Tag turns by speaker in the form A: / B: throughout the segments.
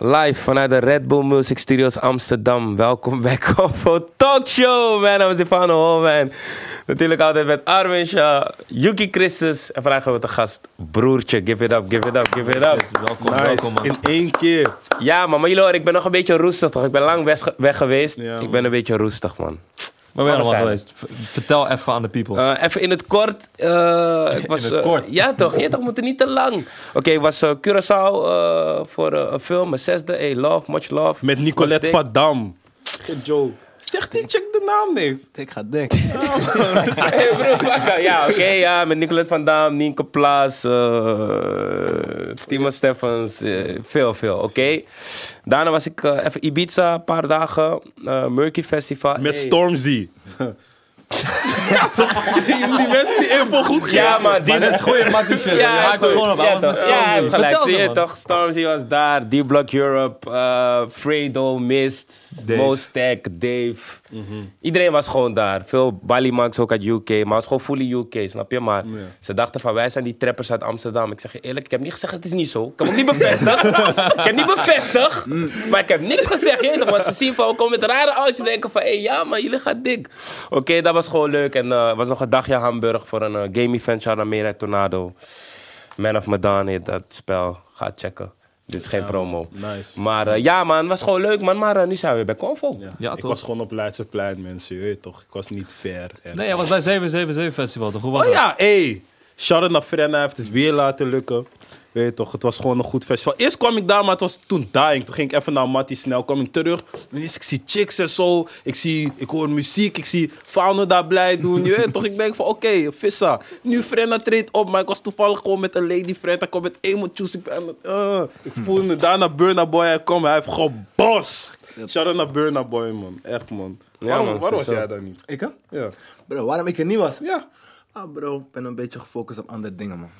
A: Live vanuit de Red Bull Music Studios Amsterdam. Welkom bij Combo Talk Show. Mijn naam is Stefano Holman. Natuurlijk altijd met Armin Shah, Yuki Christus. En vandaag hebben we de gast Broertje. Give it up, give it up, give it up.
B: Welkom, welkom man.
C: In één keer.
A: Ja man, maar jullie horen, ik ben nog een beetje roestig toch? Ik ben lang weg, weg geweest. ik ben een beetje roestig man.
B: Waar ben je
A: Alles
B: allemaal
A: zijn.
B: geweest? V- Vertel even aan de people.
A: Eh, even in het kort. eh, ik was,
B: het
A: eh,
B: kort?
A: ja, toch? Ja, toch? Moet het niet te lang. Oké, ik was eh, Curaçao eh, voor eh, een film, mijn zesde. Hey, love, much love.
C: Met Nicolette
A: Was dik.
C: van Dam. Geen joke. Zeg die check de naam niet. Ik ga denken.
A: Hey, broer, pak hem. ja, oké, ja. Met Nicolette van Dam, Nienke Plaas, eh, Timo Steffens. eh, veel, veel, oké. Daarna was ik eh, even Ibiza, een paar dagen. eh, Murky Festival. Hey.
C: Met Stormzy. die mensen die info goed geven.
A: Ja, maar die...
B: Maar dat is goede mattie shit. je haakt er
A: goed.
B: gewoon op.
A: Ja,
B: Alles met
A: toch. Ja, hij heeft
B: Stormzy.
A: gelijk.
B: Vertel
A: Zie
B: ze,
A: je
B: man.
A: toch? Stormzy was daar. D-Block Europe. eh Fredo, Mist.
B: Dave.
A: Mostek, Dave. Iedereen was gewoon daar. Veel Balimanks ook uit UK. Maar het was gewoon fully UK, snap je? Maar ze dachten van, wij zijn die trappers uit Amsterdam. Ik zeg je eerlijk, ik heb niet gezegd, het is niet zo. Ik heb het niet bevestigd. ik heb niet bevestigd. Maar ik heb niks gezegd, je weet toch? Want ze zien van, we komen met rare oudjes en denken van, hé, hey, ja man, jullie gaan dik. Oké, dat was gewoon leuk. En eh was nog een dagje Hamburg voor een eh, game event. Charamera Tornado. Man of Medan heet dat spel. Ga checken. Dit is geen promo.
C: nice.
A: Maar eh, ja, man, was gewoon leuk, man. Maar eh, nu zijn we weer bij Convo.
C: Ja,
B: Ja,
C: ik
B: toch.
C: was gewoon op Leidseplein, mensen. Je weet toch, ik was niet ver. En-
B: Nee, hij was bij 777 Festival toch? Hoe was
C: Oh
B: het?
C: ja, hé. Shout-out naar Frenna, heeft het weer laten lukken. Weet je toch, het was gewoon een goed festival. Eerst kwam ik daar, maar het was toen dying. Toen ging ik even naar Mattie snel, kwam ik terug. En eerst, ik zie chicks en zo. Ik, zie, ik hoor muziek, ik zie Fauno daar blij doen. Je weet toch, ik denk van oké, Vissa. Nu Frenna treedt op, maar ik was toevallig gewoon met een lady friend. Hij kwam met emoties. Ik, ben, eh, ik voelde daarna Burna Boy, hij kwam, hij heeft gebost. Shout-out naar Burna Boy, man. Echt, man. waarom
A: man,
C: waarom was
A: sowieso.
C: jij daar niet?
D: Ik hè?
C: Ja.
D: Bro, waarom ik er niet was?
C: ja.
D: Ah bro, ik ben een beetje gefocust op andere dingen man.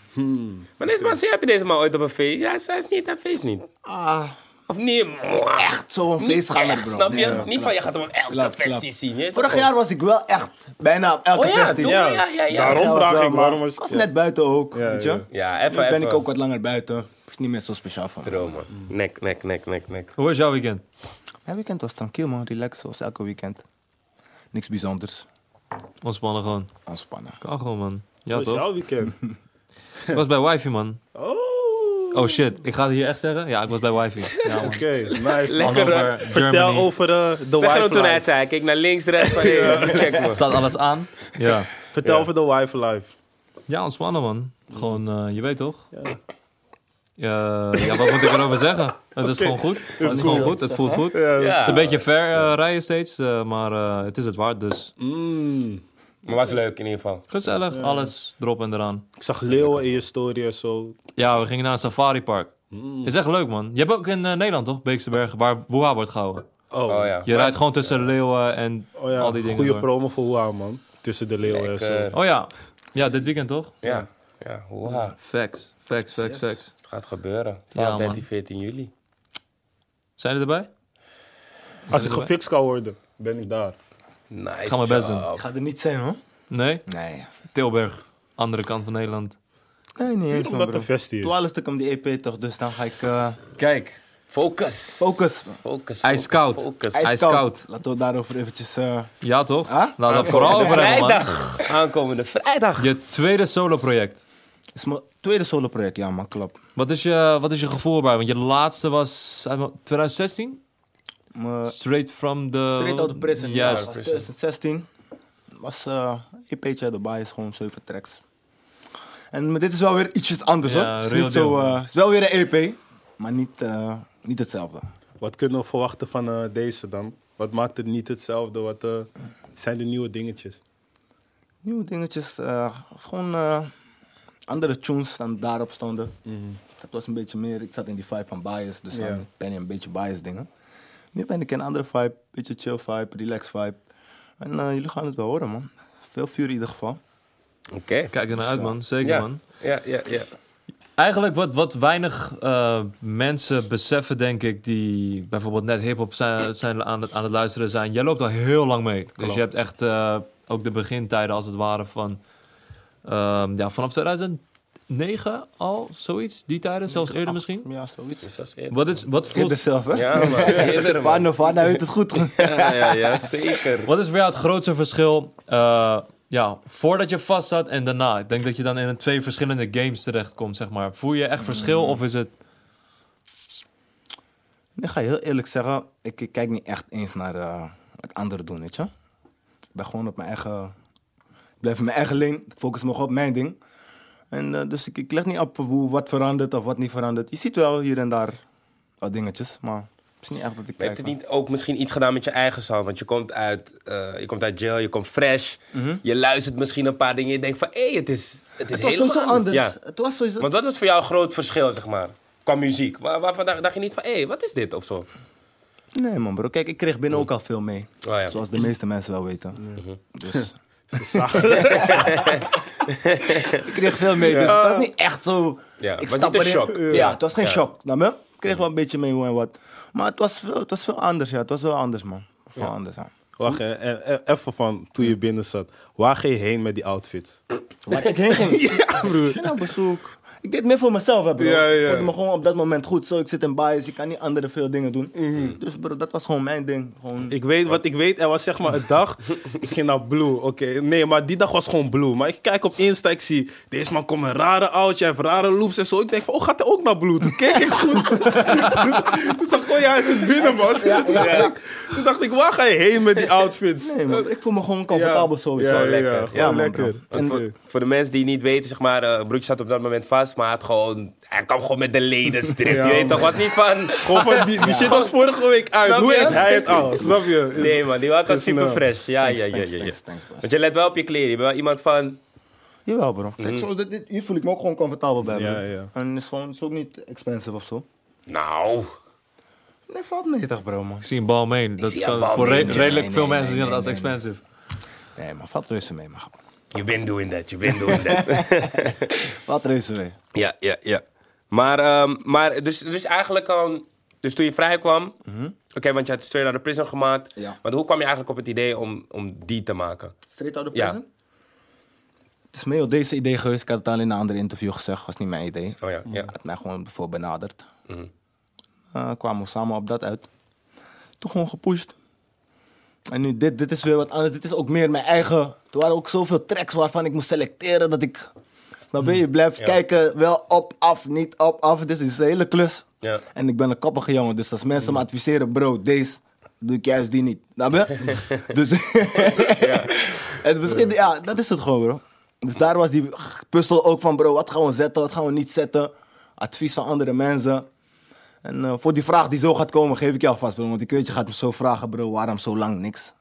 A: Maar deze man, zie- heb je deze man ooit op een feest? Ja, hij is niet, hij feest niet.
D: Ah,
A: Of niet?
D: echt zo'n feest gaan met
A: echt,
D: bro.
A: Snap je?
D: Nee,
A: niet
D: man.
A: van, je gaat hem op elke
D: Klap,
A: festie
D: klap.
A: zien. hè?
D: Vorig jaar was ik wel echt bijna op elke
A: Oh ja,
D: festie.
A: toen, ja, ja, ja. ja.
C: Daarom.
D: was
C: vraag
D: wel,
C: ik,
D: maar
C: waarom was-
D: Ik was
C: ja.
D: net buiten ook,
C: Ja,
D: weet je?
C: ja.
A: Ja,
D: Nu
A: even,
D: ben
A: even.
D: ik ook wat langer buiten. Is niet meer zo speciaal voor me.
A: Dromen. Nek, nek, nek, nek, nek.
B: Hoe was jouw weekend?
D: Mijn weekend was tranquil man, relaxed zoals elke weekend. Niks bijzonders,
B: Ontspannen gewoon.
D: ontspannen.
B: Kan gewoon, man. Ja,
C: Dat was
B: toch?
C: jouw weekend.
B: Ik was bij wifi, man.
C: Oh.
B: Oh shit, ik ga het hier echt zeggen? Ja, ik was bij wifi. Ja, man.
C: Oké, nice. man.
B: All over
C: Vertel
B: Germany.
C: over eh, de
A: Zeg hem
C: wife
A: toen hij
C: life.
A: het zei. Hij Keek naar links, rechts. Van, hey, check me.
B: Staat alles aan? Ja.
C: Vertel over de wife life.
B: Ja, ontspannen, man. Gewoon, eh, je weet toch? Ja. ja, wat moet ik erover zeggen? Het is gewoon goed. Het is gewoon goed, het voelt goed. Het is een beetje ver eh, rijden steeds, eh, maar eh, het is het waard dus.
C: Mm.
A: Maar was leuk in ieder geval.
B: Gezellig, alles erop en eraan.
C: Ik zag leeuwen in je story en zo.
B: Ja, we gingen naar een safaripark. Is echt leuk, man. Je hebt ook in eh, Nederland, toch? Beekse Bergen, waar Woeha wordt gehouden.
C: Oh,
A: Oh ja.
B: Je rijdt gewoon tussen de leeuwen en
C: Oh ja,
B: al die dingen
C: goede
B: door.
C: promo voor Hoa, man. Tussen de leeuwen en zo.
A: Lekker.
B: Oh ja. Ja, dit weekend toch?
A: Ja. Ja, hoera.
B: Facts, facts, facts, facts.
A: Het gaat gebeuren. 12,
B: man.
A: 13, 14 juli.
B: Zijn jullie erbij?
C: Als ik gefixt kan worden, ben ik daar.
A: Nice.
B: Ik ga mijn best doen.
A: job.
D: Ik ga er niet zijn hoor.
B: Nee?
D: Nee.
B: Tilburg, andere kant van Nederland.
D: Nee, niet eens man
C: Omdat de
D: bro.
C: vest hier.
D: 12 stuk om die EP toch, dus dan ga ik eh,
B: Kijk,
A: Focus.
D: focus. man.
A: Focus.
B: Ijskoud.
A: Focus.
B: Ijs-
A: Focus.
B: Ijskoud.
D: Laten we daarover eventjes... eh,
B: ja toch?
D: Huh?
B: Laat dat vooral over hebben, man.
A: Vrijdag. Aankomende vrijdag.
B: Je tweede solo-project.
D: is Dus mijn tweede solo-project, ja man, klopt.
B: Wat is, je, wat is je gevoel bij? Want je laatste was uit mijn- 2016?
D: Mijn
B: Straight from the...
D: Straight out of prison. ja,
B: Yes.
D: was 2016 was eh EP'tje erbij, is gewoon 7 tracks. En maar dit is wel weer ietsjes anders
B: Ja,
D: hoor. Het is,
B: real
D: niet zo,
B: deal.
D: eh, het is wel weer een EP, maar niet, eh, niet hetzelfde.
C: Wat kunnen we verwachten van eh, deze dan? Wat maakt het niet hetzelfde? Wat eh, zijn de nieuwe dingetjes?
D: Nieuwe dingetjes, eh, gewoon eh, andere tunes dan daarop stonden. Dat was een beetje meer, ik zat in die vibe van bias, dus
C: Ja.
D: dan ben je een beetje bias dingen. Nu ben ik in een andere vibe, beetje chill vibe, relax vibe. En eh, jullie gaan het wel horen man. Veel vuur in ieder geval.
A: Oké.
B: Kijk er naar uit, man. Zeker,
A: Ja.
B: man.
A: Ja, ja, ja.
B: Eigenlijk wat, wat weinig eh, mensen beseffen, denk ik, die bijvoorbeeld net hip-hop zijn, zijn aan, het, aan het luisteren zijn. Jij loopt al heel lang mee. Dus je hebt echt eh, ook de begintijden, als het ware, van ehm, ja, vanaf 2011 2009 al, zoiets, die tijden, zelfs eerder misschien.
D: Ja, dus zoiets.
A: Dus dat is eerder.
B: Wat, is, wat,
D: Kinder
B: voelt,
D: zelf, hè? nou-
A: Ja, man. Eerder, man.
D: Vana, Vana weet het goed.
A: Ja, ja, ja, zeker.
B: wat is voor jou het grootste verschil eh, ja, voordat je vast zat en daarna? Ik denk dat je dan in twee verschillende games terechtkomt, zeg maar. Voel je echt verschil of is het...
D: Ik ga je heel eerlijk zeggen, ik, ik kijk niet echt eens naar eh, het andere doen, weet je. Ik ben gewoon op mijn eigen... Ik blijf in mijn eigen lane, ik focus me gewoon op mijn ding. En eh, dus ik, ik leg niet op hoe, wat verandert of wat niet verandert. Je ziet wel hier en daar wat dingetjes, maar het is niet echt dat ik
A: Maar
D: kijk.
A: heeft het
D: man.
A: niet ook misschien iets gedaan met je eigen sound? Want je komt uit, eh, je komt uit jail, je komt fresh. Je luistert misschien een paar dingen en je denkt van... Hé, het is, het is
D: Mhm. Het was sowieso
A: helemaal
D: anders.
A: Ja.
D: Het was sowieso...
A: Want wat was voor jou een groot verschil, zeg maar? Qua muziek. Waar, waarvan dacht dacht je niet van... Hé, wat is dit? Of zo.
D: Nee man bro, kijk, ik kreeg binnen ook al veel mee.
A: Oh, ja. Mhm.
D: Zoals de meeste mensen wel weten. Dus... ik kreeg veel mee, dus dat is niet echt zo...
A: Ja,
D: ik
A: was niet een
D: erin.
A: shock.
D: Ja, het was geen
A: Ja. Mhm.
D: shock, snap je? Ik kreeg wel een beetje mee hoe en wat. Maar het was veel, het was veel anders, ja. Het was wel anders, man. Veel anders, ja.
C: Wacht, hè, en- en- even van toen je binnen zat. Waar ging je heen met die outfit?
D: Waar ik heen ging. ja, broer. Ik op bezoek. Ik deed meer voor mezelf, hè, bro.
C: Ja, ja.
D: Ik voelde me gewoon op dat moment goed. Zo, ik zit in bias, ik kan niet anderen veel dingen doen.
A: Mhm.
D: Dus bro, dat was gewoon mijn ding. Gewoon...
C: Ik weet wat ik weet. Er was zeg maar een dag. ik ging naar Blue. Oké, nee, maar die dag was gewoon Blue. Maar ik kijk op Insta, ik zie. Deze man komt met een rare oudje. Hij heeft rare loops en zo. Ik denk van, oh, gaat hij ook naar Blue? Toen keek ik goed. toen zag ik, oh ja, hij zit binnen, man. toen, dacht ik, toen dacht ik, waar ga je heen met die outfits?
D: Nee, man, ik voel me gewoon comfortabel zo. weet je
C: Ja,
D: wel.
C: ja,
A: lekker.
C: Ja,
A: Ja,
C: gewoon
D: man,
C: lekker.
D: bro.
A: Want
C: Oké.
A: voor, voor de mensen die niet weten, zeg maar, eh Broek zat op dat moment vast, maar hij, had gewoon, hij kwam gewoon met de leden strip.
C: Ja,
A: je weet
C: man.
A: toch wat niet van...
C: Gewoon van, die, die shit was vorige week uit.
A: Snap
C: Hoe
A: je?
C: heeft hij het al? Snap je? Is-
A: Nee man, die was al
C: is snel.
A: super fresh. Ja, ja, ja,
D: Thanks,
A: ja, ja.
D: thanks, thanks, bro.
A: Want je let wel op je kleren. Je bent wel iemand van...
D: Jawel, bro.
A: Mhm.
D: Kijk, zoals dit, dit- hier voel ik me ook gewoon comfortabel bij, bro.
C: Ja, ja.
D: En het is, gewoon, het is ook niet expensive of zo.
A: Nou...
D: Nee, valt mee toch, bro, man.
B: Ik zie een bal mee. Dat
A: zie een
B: kan
A: bal
B: voor
A: mee.
B: re-
A: Nee,
B: redelijk
D: nee,
B: veel
D: nee,
B: mensen
D: nee,
B: zien dat als
D: nee, nee.
B: expensive.
D: Nee, maar valt reuze mee, man.
A: You've been doing that, you've been doing that.
D: Valt reuze mee.
A: ja, ja, ja. Maar, ehm, maar dus, dus eigenlijk al... Dus toen je vrij kwam... Oké, want je had Straight Outta Prison gemaakt.
D: Mhm. Ja.
A: Maar hoe kwam je eigenlijk op het idee om, om die te maken?
D: Straight out of
A: Ja.
D: prison? Het is mee op deze idee geweest. Ik had het al in een ander interview gezegd. was niet mijn idee.
A: Oh ja, ja. Mhm.
D: Hij had mij gewoon voor benaderd. Eh, kwamen we samen op dat uit. Toen gewoon gepusht. En nu, dit, dit is weer wat anders. Dit is ook meer mijn eigen. Er waren ook zoveel tracks waarvan ik moest selecteren dat ik. Snap je? Je blijft kijken, wel op, af, niet op, af. Dus het is een hele klus.
A: Ja.
D: En ik ben een koppige jongen, dus als mensen me adviseren, bro, deze doe ik juist die niet. Snap je? dus. het verschil, ja, dat is het gewoon, bro. Dus daar was die puzzel ook van, bro, wat gaan we zetten, wat gaan we niet zetten. Advies van andere mensen. En eh, voor die vraag die zo gaat komen, geef ik je alvast, bro. Want ik weet, je gaat me zo vragen, bro, waarom zo lang niks?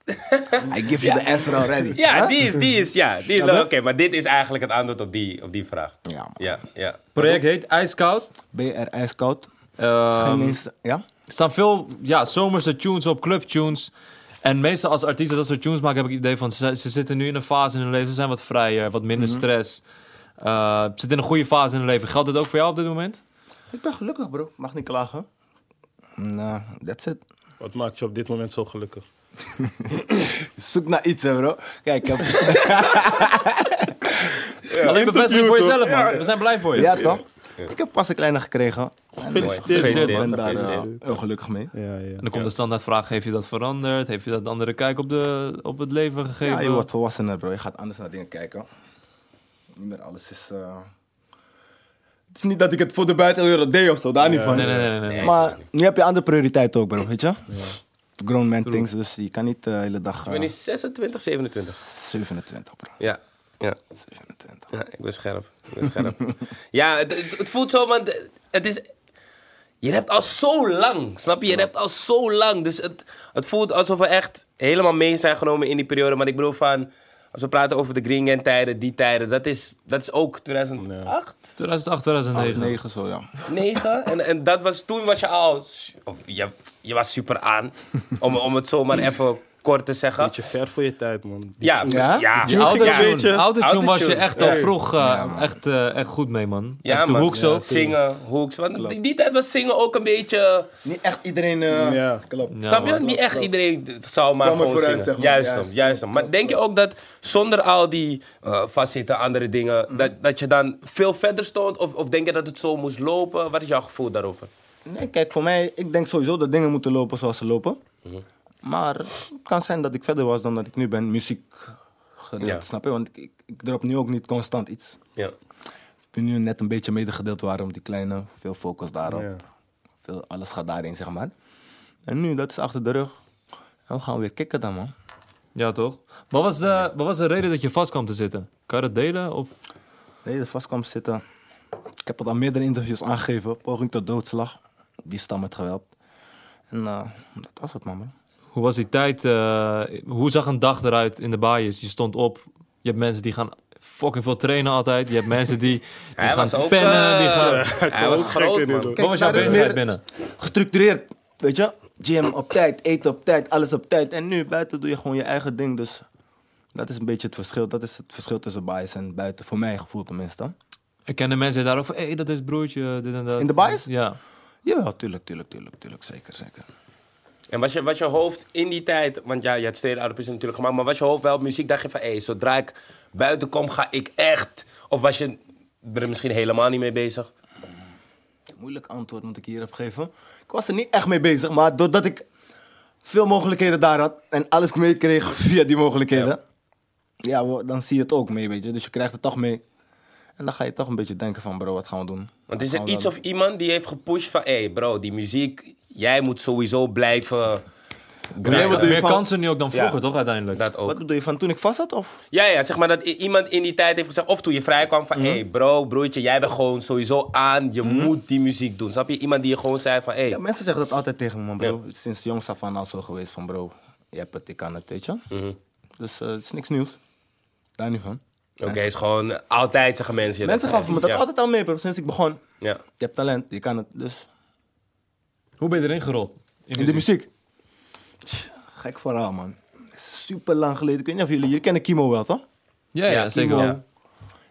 D: I give you the answer already.
A: Ja,
D: Huh?
A: die is, die is, ja. Die is
D: Ja,
A: leuk.
D: maar-
A: Oké, maar dit is eigenlijk het antwoord op die, op die vraag.
D: Ja, man.
A: Ja,
D: Ah.
A: ja.
B: project heet IJskoud.
D: BR ijskoud. Is geen
B: Ehm
D: eens- ja?
B: Er staan veel ja, zomerse tunes op, clubtunes. En meestal als artiesten dat soort tunes maken, heb ik het idee van... Ze, ze zitten nu in een fase in hun leven, ze zijn wat vrijer, wat minder stress. Eh, ze zitten in een goede fase in hun leven. Geldt dat ook voor jou op dit moment?
D: Ik ben gelukkig, bro. Mag niet klagen. Nou, that's it.
C: Wat maakt je op dit moment zo gelukkig?
D: Zoek naar iets, hè, bro. Kijk, ik heb...
B: Alleen bevestiging
C: interview,
B: voor
C: toch?
B: jezelf, man.
C: Ja, ja.
B: We zijn blij voor je.
D: ja, toch? Ik heb pas een kleine gekregen.
A: Gefeliciteerd,
C: Gefeliciteerd.
D: Ik ben
A: man.
D: daar eh,
A: Gefeliciteerd.
D: heel gelukkig mee.
C: Ja, ja.
B: En dan komt de standaardvraag, heeft je dat veranderd? Heeft je dat een andere kijk op, de, op het leven gegeven?
D: Ja, je wordt volwassener, bro. Je gaat anders naar dingen kijken. Niet meer alles is... eh, Het is niet dat ik het voor de buitenwereld deed of zo, daar niet van.
B: Nee, nee, nee, nee, nee.
D: Maar nu heb je andere prioriteiten ook, bro, weet je? Grown man things, dus je kan niet de hele dag...
A: Ik
D: eh,
A: ben nu 26, 27.
D: 27, bro.
A: Ja, ja.
D: 27.
A: Ja, ik ben scherp. Ik ben scherp. ja, het, het, het voelt zo, want het is... Je hebt al zo lang, snap je? Je hebt al zo lang. Dus het, het voelt alsof we echt helemaal mee zijn genomen in die periode. Maar ik bedoel van... Als we praten over de Green Gang tijden, die tijden... Dat is, dat is ook 2008,
B: 2008, 2009.
D: 9 zo, ja.
A: 9. En, en dat was, toen was je al... su- Of, je, je was super aan. Om, om het zomaar even kort te zeggen.
C: Beetje ver voor je tijd, man. Die
A: Ja, ja,
D: Ja?
A: ja.
B: Je
C: Autotune.
B: autotune,
C: Ja.
B: autotune was je
A: Autotune.
B: echt al
C: Ja.
B: vroeg eh, echt, eh, echt goed mee, man.
A: Ja,
B: echt de
A: man.
B: hoek zo.
A: Zingen, hoeks. Want in die tijd was zingen ook een beetje...
D: Niet echt iedereen. eh,
C: Ja.
D: Klopt.
B: Ja,
A: snap je?
B: man.
A: Niet echt iedereen d- zou maar
D: Kwam er
A: gewoon
D: vooruit,
A: zingen.
D: zeg maar.
A: Juist
D: Juist.
A: hem, juist hem. Maar denk je ook dat zonder al die eh facetten, andere dingen,
D: Mhm.
A: dat, dat je dan veel verder stond? Of, of denk je dat het zo moest lopen? Wat is jouw gevoel daarover?
D: Nee, kijk, voor mij, ik denk sowieso dat dingen moeten lopen zoals ze lopen.
A: Mhm.
D: Maar het kan zijn dat ik verder was dan dat ik nu ben, muziek gedeeld,
A: Ja.
D: snap je? Want ik, ik, ik drop nu ook niet constant iets.
A: Ja.
D: Ik ben nu net een beetje medegedeeld waarom die kleine, veel focus daarop. Veel, alles gaat daarin, zeg maar. En nu, dat is achter de rug. En we gaan weer kicken dan, man.
B: Ja, toch? Wat was, de, wat was de reden dat je vast kwam te zitten? Kan je dat delen? Of...
D: Nee, de vastkamp zitten. Ik heb het aan meerdere interviews aangegeven. Poging tot doodslag. Die stam met geweld. En eh, dat was het, man. man.
B: Hoe was die tijd? eh, hoe zag een dag eruit in de baaiers? Je stond op. Je hebt mensen die gaan fucking veel trainen altijd. Je hebt mensen die, die
A: Hij
B: gaan
A: was ook...
B: pennen.
A: eh,
B: die gaan...
A: hij was
C: ook gek
A: groot,
C: in dit,
A: man.
B: Wat was jouw
D: daar is
B: bezigheid
D: meer-
B: binnen?
D: gestructureerd. Weet je? Gym op tijd, eten op tijd, alles op tijd. En nu buiten doe je gewoon je eigen ding. Dus dat is een beetje het verschil. Dat is het verschil tussen bias en buiten. Voor mijn gevoel tenminste.
B: En kennen mensen daar ook van, hé, hey, dat is broertje, dit en dat.
D: In de bias?
B: Ja.
D: Jawel, tuurlijk, tuurlijk, tuurlijk, tuurlijk. Zeker, zeker.
A: En was je, was je hoofd in die tijd, want ja, je had steden Arabische natuurlijk gemaakt, maar was je hoofd wel op muziek? Dacht je van, hé, zodra ik buiten kom, ga ik echt. Of was je er misschien helemaal niet mee bezig?
D: Moeilijk antwoord moet ik hier op geven. Ik was er niet echt mee bezig, maar doordat ik veel mogelijkheden daar had en alles meekreeg via die mogelijkheden, ja. wo- dan zie je het ook mee, weet je. Dus je krijgt het toch mee. En dan ga je toch een beetje denken van, bro, wat gaan we doen?
A: Want is
D: Gaan
A: er
D: we
A: iets
D: wel-
A: of iemand die heeft gepusht van, hé, bro, die muziek, jij moet sowieso blijven.
D: Nee, wat doe je
B: Meer
D: van-
B: kansen nu ook dan vroeger,
A: Ja.
B: toch, uiteindelijk?
A: Dat ook.
D: Wat bedoel je, van toen ik vast zat of?
A: Ja, ja, zeg maar dat i- iemand in die tijd heeft gezegd, of toen je vrij kwam
D: Mhm.
A: van, hé, bro, broertje, jij bent gewoon sowieso aan, je moet die muziek doen. Snap je? Iemand die je gewoon zei van, hé.
D: Ja, mensen zeggen dat altijd tegen me, man, bro. Het is Sinds jongs af aan al zo geweest van, bro, je hebt het, ik kan het, weet je. Dus eh, het is niks nieuws. Daar niet van.
A: Oké, is gewoon altijd zeggen mensen. je
D: Mensen gaven me dat
A: Ja,
D: altijd al mee, bro, sinds ik begon.
A: Ja.
D: Je hebt talent, je kan het, dus...
B: Hoe ben je erin gerold?
D: In de muziek? Tja, Gek verhaal, man. Super lang geleden. Ik weet niet of jullie... Jullie kennen Kimo wel, toch?
B: Ja, ja,
A: Ja,
B: zeker
A: Timo.
B: wel.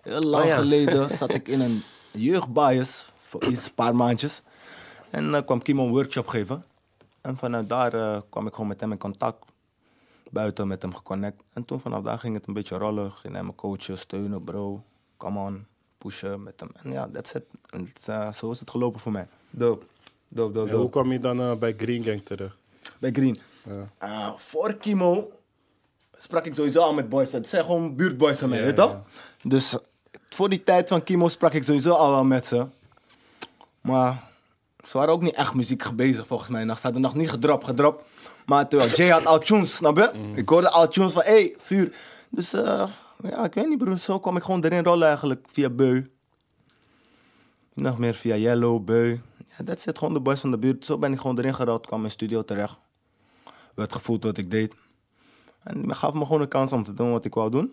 D: Heel lang
A: Oh, ja.
D: geleden zat ik in een jeugdbias. Voor iets, een paar maandjes. En eh, kwam Kimo een workshop geven. En vanuit daar eh, kwam ik gewoon met hem in contact. Buiten met hem geconnect. En toen vanaf daar ging het een beetje rollen. Ging hij me coachen, steunen, bro. Come on, pushen met hem. En ja, that's it. En het, eh, zo is het gelopen voor mij.
B: Doop. Doop, doop,
C: En hoe kwam je dan eh, bij Green Gang terecht?
D: bij Green.
C: Ja.
D: Ah, voor Kimo sprak ik sowieso al met boys. Het zijn gewoon buurtboys van mij, weet je toch? Dus eh, voor die tijd van Kimo sprak ik sowieso al wel met ze. Maar ze waren ook niet echt muziek bezig volgens mij. Nog- Ze hadden nog niet gedrop, gedrop. Maar terwijl Jay had al tunes, snap je? Ik hoorde al tunes van, hé, hey, vuur. Dus eh, ja, ik weet niet broer, zo kwam ik gewoon erin rollen eigenlijk. Via Beu. Nog meer via Yellow, Beu. Ja, dat zit gewoon de boys van de buurt. Zo ben ik gewoon erin gerold, kwam in studio terecht werd gevoeld wat ik deed. En men gaf me gewoon een kans om te doen wat ik wou doen.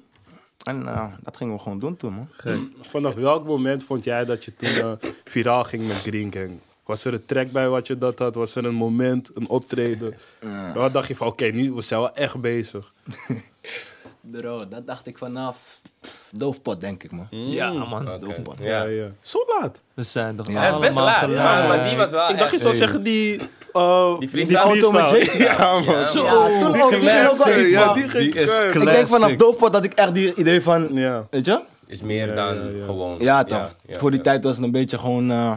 D: En eh, dat gingen we gewoon doen toen, man.
C: Mm, Vanaf welk moment vond jij dat je toen eh, viraal ging met Green Gang? Was er een track bij wat je dat had? Was er een moment, een optreden? Wat dacht je van, oké, nu we zijn wel echt bezig.
D: Bro, dat dacht ik vanaf pff, doofpot, denk ik, man.
B: Ja, man.
A: Oké.
D: Doofpot.
A: Ja.
C: Ja, ja. Zo laat.
B: We zijn toch
A: Hij is best
B: allemaal
A: laat, ja,
B: gelijk.
A: maar die was wel
C: Ik dacht je
A: echt-
C: zou zeggen die... eh
A: Die freestyle.
C: freestyle. Ja, man.
D: Zo, ja, toen ook, die ging ook wel iets,
C: Ja,
D: man.
C: die ging
B: Die is
C: keihard.
D: Ik denk vanaf doofpot dat ik echt die idee van,
C: Ja.
D: weet je?
A: Is meer dan
C: ja, ja.
A: gewoon.
D: Ja, toch.
A: ja,
D: Voor die
A: ja.
D: tijd was het een beetje gewoon eh,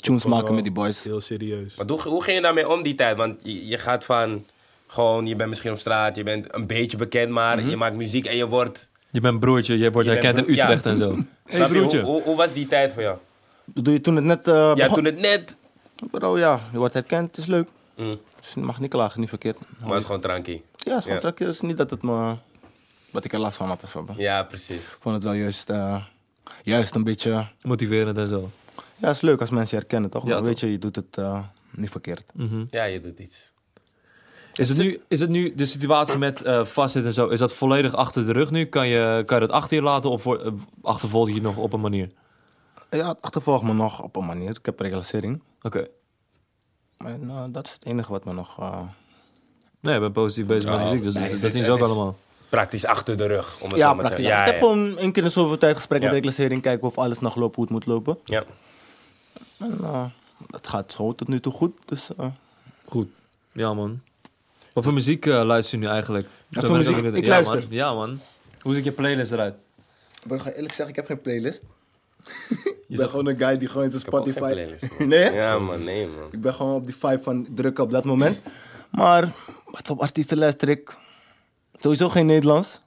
D: tunes maken met die boys.
C: Heel serieus.
A: Maar hoe, hoe ging je daarmee om die tijd? Want je, je gaat van gewoon, je bent misschien op straat, je bent een beetje bekend, maar je maakt muziek en je wordt.
B: Je bent broertje, je wordt
A: Je
B: herkend
A: bent
B: in
A: broer-
B: Utrecht
A: ja.
B: en zo. Hé,
A: Snap je? Hoe,
B: broertje.
A: hoe, hoe was die tijd voor jou?
D: Doe je toen het net eh
A: Ja,
D: begon?
A: toen het net.
D: Bro, ja, je wordt herkend, het is leuk.
A: Mm,
D: Dus je mag niet klagen, niet verkeerd.
A: maar het is gewoon tranquille.
D: Ja, het is
A: Ja.
D: gewoon trakje. Het is niet dat het me... Wat ik er last van had of zo. bro.
A: Ja, precies.
D: Ik vond het wel juist, eh, juist een beetje...
B: Motiverend en zo.
D: Ja, het is leuk als mensen je herkennen, toch?
B: Ja,
D: Maar
B: toch?
D: weet je, je doet het eh, niet verkeerd.
A: Ja, je doet iets.
B: Is het, nu, is het nu de situatie met eh vastzit en zo, is dat volledig achter de rug nu? Kan je, kan je dat achter je laten of voor, eh, achtervolg je het nog op een manier?
D: Ja, het achtervolgt me nog op een manier. Ik heb reclassering.
B: Oké.
D: Maar nou, dat is het enige wat me nog eh,
B: Nee, ik ben positief bezig met muziek, dus
A: nee,
B: dat,
A: dit
B: dat zien
A: is-
B: ze ook
A: dit is-
B: allemaal.
A: Praktisch achter de rug, om het
D: Ja,
A: zo maar te
D: praktisch.
A: zeggen.
D: ik heb
A: ja,
D: gewoon een keer in zoveel tijd gesprek
A: Ja.
D: met de reclassering, kijken of alles nog loopt hoe het moet lopen.
A: ja.
D: En, eh, het gaat gewoon tot nu toe goed. Dus, eh,
B: Goed. Ja, man. Wat voor muziek eh, luister je nu eigenlijk? Daar
D: voor
B: ben ook
D: muziek?
B: benieuwd.
D: Ik
B: ja,
D: luister.
B: Man. Ja, man. Hoe ziet je playlist eruit?
D: Maar ik ga eerlijk zeggen, ik heb geen playlist. ik ben
B: zegt-
D: gewoon een guy die gewoon in zijn
A: Ik heb ook geen
D: Spotify...
A: playlist, man.
D: Nee? hè?
A: Ja, man, nee, man.
D: Ik ben gewoon op die vibe van drukken op dat moment. Maar wat voor artiesten luister ik? Sowieso geen Nederlands.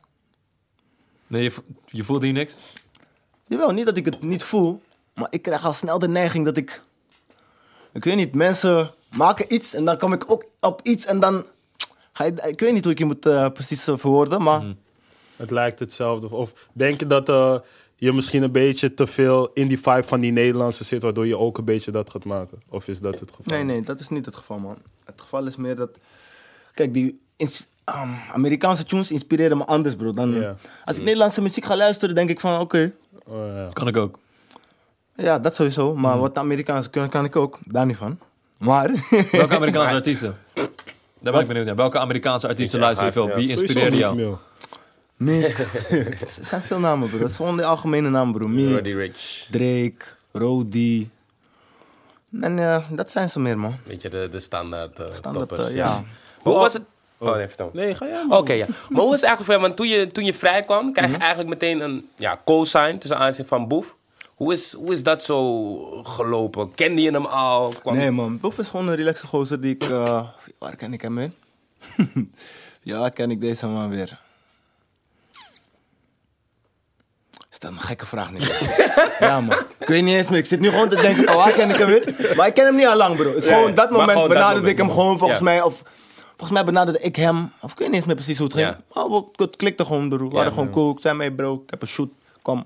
B: Nee, je, vo- je voelt hier niks?
D: Jawel, niet dat ik het niet voel. Maar ik krijg al snel de neiging dat ik... Ik weet niet, mensen maken iets en dan kom ik ook op iets en dan... Ga je, ik weet niet hoe ik je moet eh, precies eh, verwoorden, maar...
C: Het lijkt hetzelfde. Of denk je dat eh, je misschien een beetje te veel in die vibe van die Nederlandse zit, waardoor je ook een beetje dat gaat maken? Of is dat het geval?
D: Nee, nee, dat is niet het geval, man. Het geval is meer dat... Kijk, die ins- ehm, Amerikaanse tunes inspireren me anders, bro. Dan,
C: Ja.
D: Als ik Nederlandse muziek ga luisteren, denk ik van... Oké,
C: Oh, ja.
B: Kan ik ook.
D: ja, dat sowieso. Maar wat de Amerikaanse kunnen, kan ik ook. Daar niet van. Maar...
B: Welke Amerikaanse artiesten? Daar ben ik benieuwd naar. Welke Amerikaanse artiesten
A: Ja,
B: luister je
A: hard,
B: veel?
A: ja.
B: Wie
C: Sowieso
B: inspireerde
C: niet
B: jou?
C: meer.
D: nee. er zijn veel namen, bro. Dat is gewoon de algemene naam, bro. Me,
A: Roddy Rich.
D: Drake, Rody. En eh, dat zijn ze meer, man.
A: Weet je, de, de standaard, eh,
D: Standaard,
A: toppers.
D: eh, ja.
A: Hoe was het? Oh, nee, vertel.
C: Nee, ga jij
A: Oké, ja. Maar hoe is het eigenlijk voor jou? Want toen je, toen je vrij kwam, krijg je eigenlijk meteen een ja, co-sign tussen aanzien van Boef. Hoe is, hoe is dat zo gelopen? Kende je hem al? Kwam-
D: Nee, man. Boef is gewoon een relaxe gozer die ik... eh, waar ken ik hem weer? ja, ken ik deze man weer? Stel me een gekke vraag niet meer. ja, man. Ik weet niet eens meer. Ik zit nu gewoon te denken van waar ken ik hem weer? Maar ik ken hem niet al lang, bro. Het is
A: Ja,
D: gewoon dat
A: maar
D: moment
A: gewoon dat
D: benaderde
A: moment,
D: ik hem
A: man.
D: gewoon volgens
A: Ja.
D: mij. Of volgens mij benaderde ik hem. Of ik weet niet eens meer precies hoe het ging. Oh, het klikte gewoon, bro. We waren gewoon cool. Ik zei mee, bro. Ik heb een shoot. Kom. Ik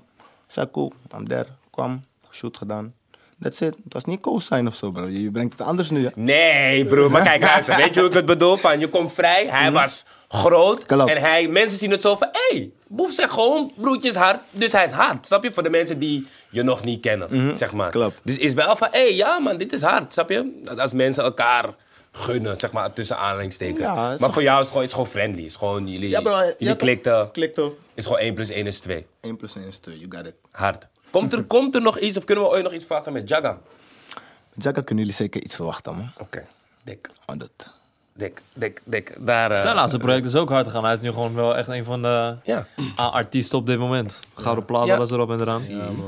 D: zei cool. I'm there. Kwam. Shoot gedaan. That's it. Het was niet co-sign of zo, bro. Je je brengt het anders nu, ja.
A: Nee, broer. Maar kijk, luister. Weet je hoe ik het bedoel? Van, je komt vrij. Hij was groot.
D: Mhm. Klopt.
A: En hij, mensen zien het zo van... Hé, hey, Boef zegt gewoon broertjes hard. Dus hij is hard. Snap je? Voor de mensen die je nog niet kennen. Zeg maar.
D: Mhm. klopt.
A: Dus is wel van... Hé, hey, ja man, dit is hard. Snap je? Dat Als mensen elkaar gunnen. Zeg maar, tussen aanhalingstekens.
D: Ja, het
A: maar
D: is
A: voor
D: toch-
A: jou is het gewoon, is het gewoon friendly. Is gewoon, jullie, jullie
D: ja, toch?
A: klikten.
D: Klikte.
A: Is gewoon 1 plus 1 is 2.
D: 1 plus 1 is 2. You got it.
A: Hard. Komt er, komt er nog iets? Of kunnen we ooit nog iets vragen met Jagan?
D: Jaka kunnen jullie zeker iets verwachten, man.
A: Oké. Dik,
D: Oh, dat.
A: dik, dik, dik. Daar... eh,
B: Zijn laatste project is ook hard gegaan. Hij is nu gewoon wel echt een van de
A: Ja.
B: artiesten op dit moment. Gouden plaat,
A: Ja.
B: alles erop en eraan.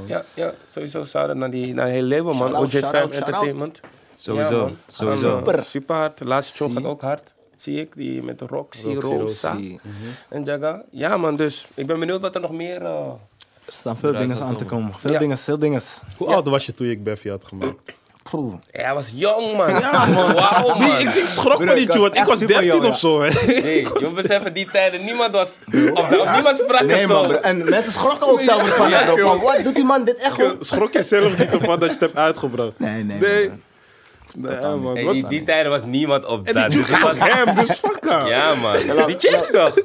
A: Ja, ja, sowieso zouden naar die naar hele label, man.
D: Shout-out,
A: OJ
D: shout-out,
A: Fam
D: shout-out.
A: Entertainment.
B: Sowieso,
A: Ja, man.
B: sowieso.
A: Gaan, eh,
D: Super.
A: Super hard. De laatste show gaat ook hard. Zie ik, die met Roxy, Rosa
D: Roxy.
A: en Jaga. Ja, man, dus ik ben benieuwd wat er nog meer... eh,
D: Er staan veel dingen aan te komen. Veel
A: Ja.
D: dingen, veel dingen.
C: Hoe oud was je toen ik Beffy had gemaakt?
D: Proef.
A: Ja, hij was jong, man. Ja, man. Wauw, man.
C: Ik, ik schrok
D: Bro,
C: van
D: ik
C: die
D: was
C: tune, want ik
D: echt
C: was
D: super
C: 13
D: jong,
C: of zo. Hè.
A: Nee, je moet beseffen, die tijden, niemand was... Of, of niemand sprak
D: Nee,
A: er
D: man,
A: zo.
D: bro. En mensen schrokken ook zelf ervan, hè, bro. Van, wat doet die man dit echt gewoon?
C: Schrok je zelf niet ervan dat je het hebt uitgebracht?
D: Nee, nee.
C: Nee.
D: man.
C: Nee, man. Wat?
A: Hey, die, die tijden was niemand op
C: En
A: dat.
C: die
A: Dus
C: tune
A: het
C: gaat
A: was-
C: hem, dus fuck haar.
A: Ja, man. Die chicks toch?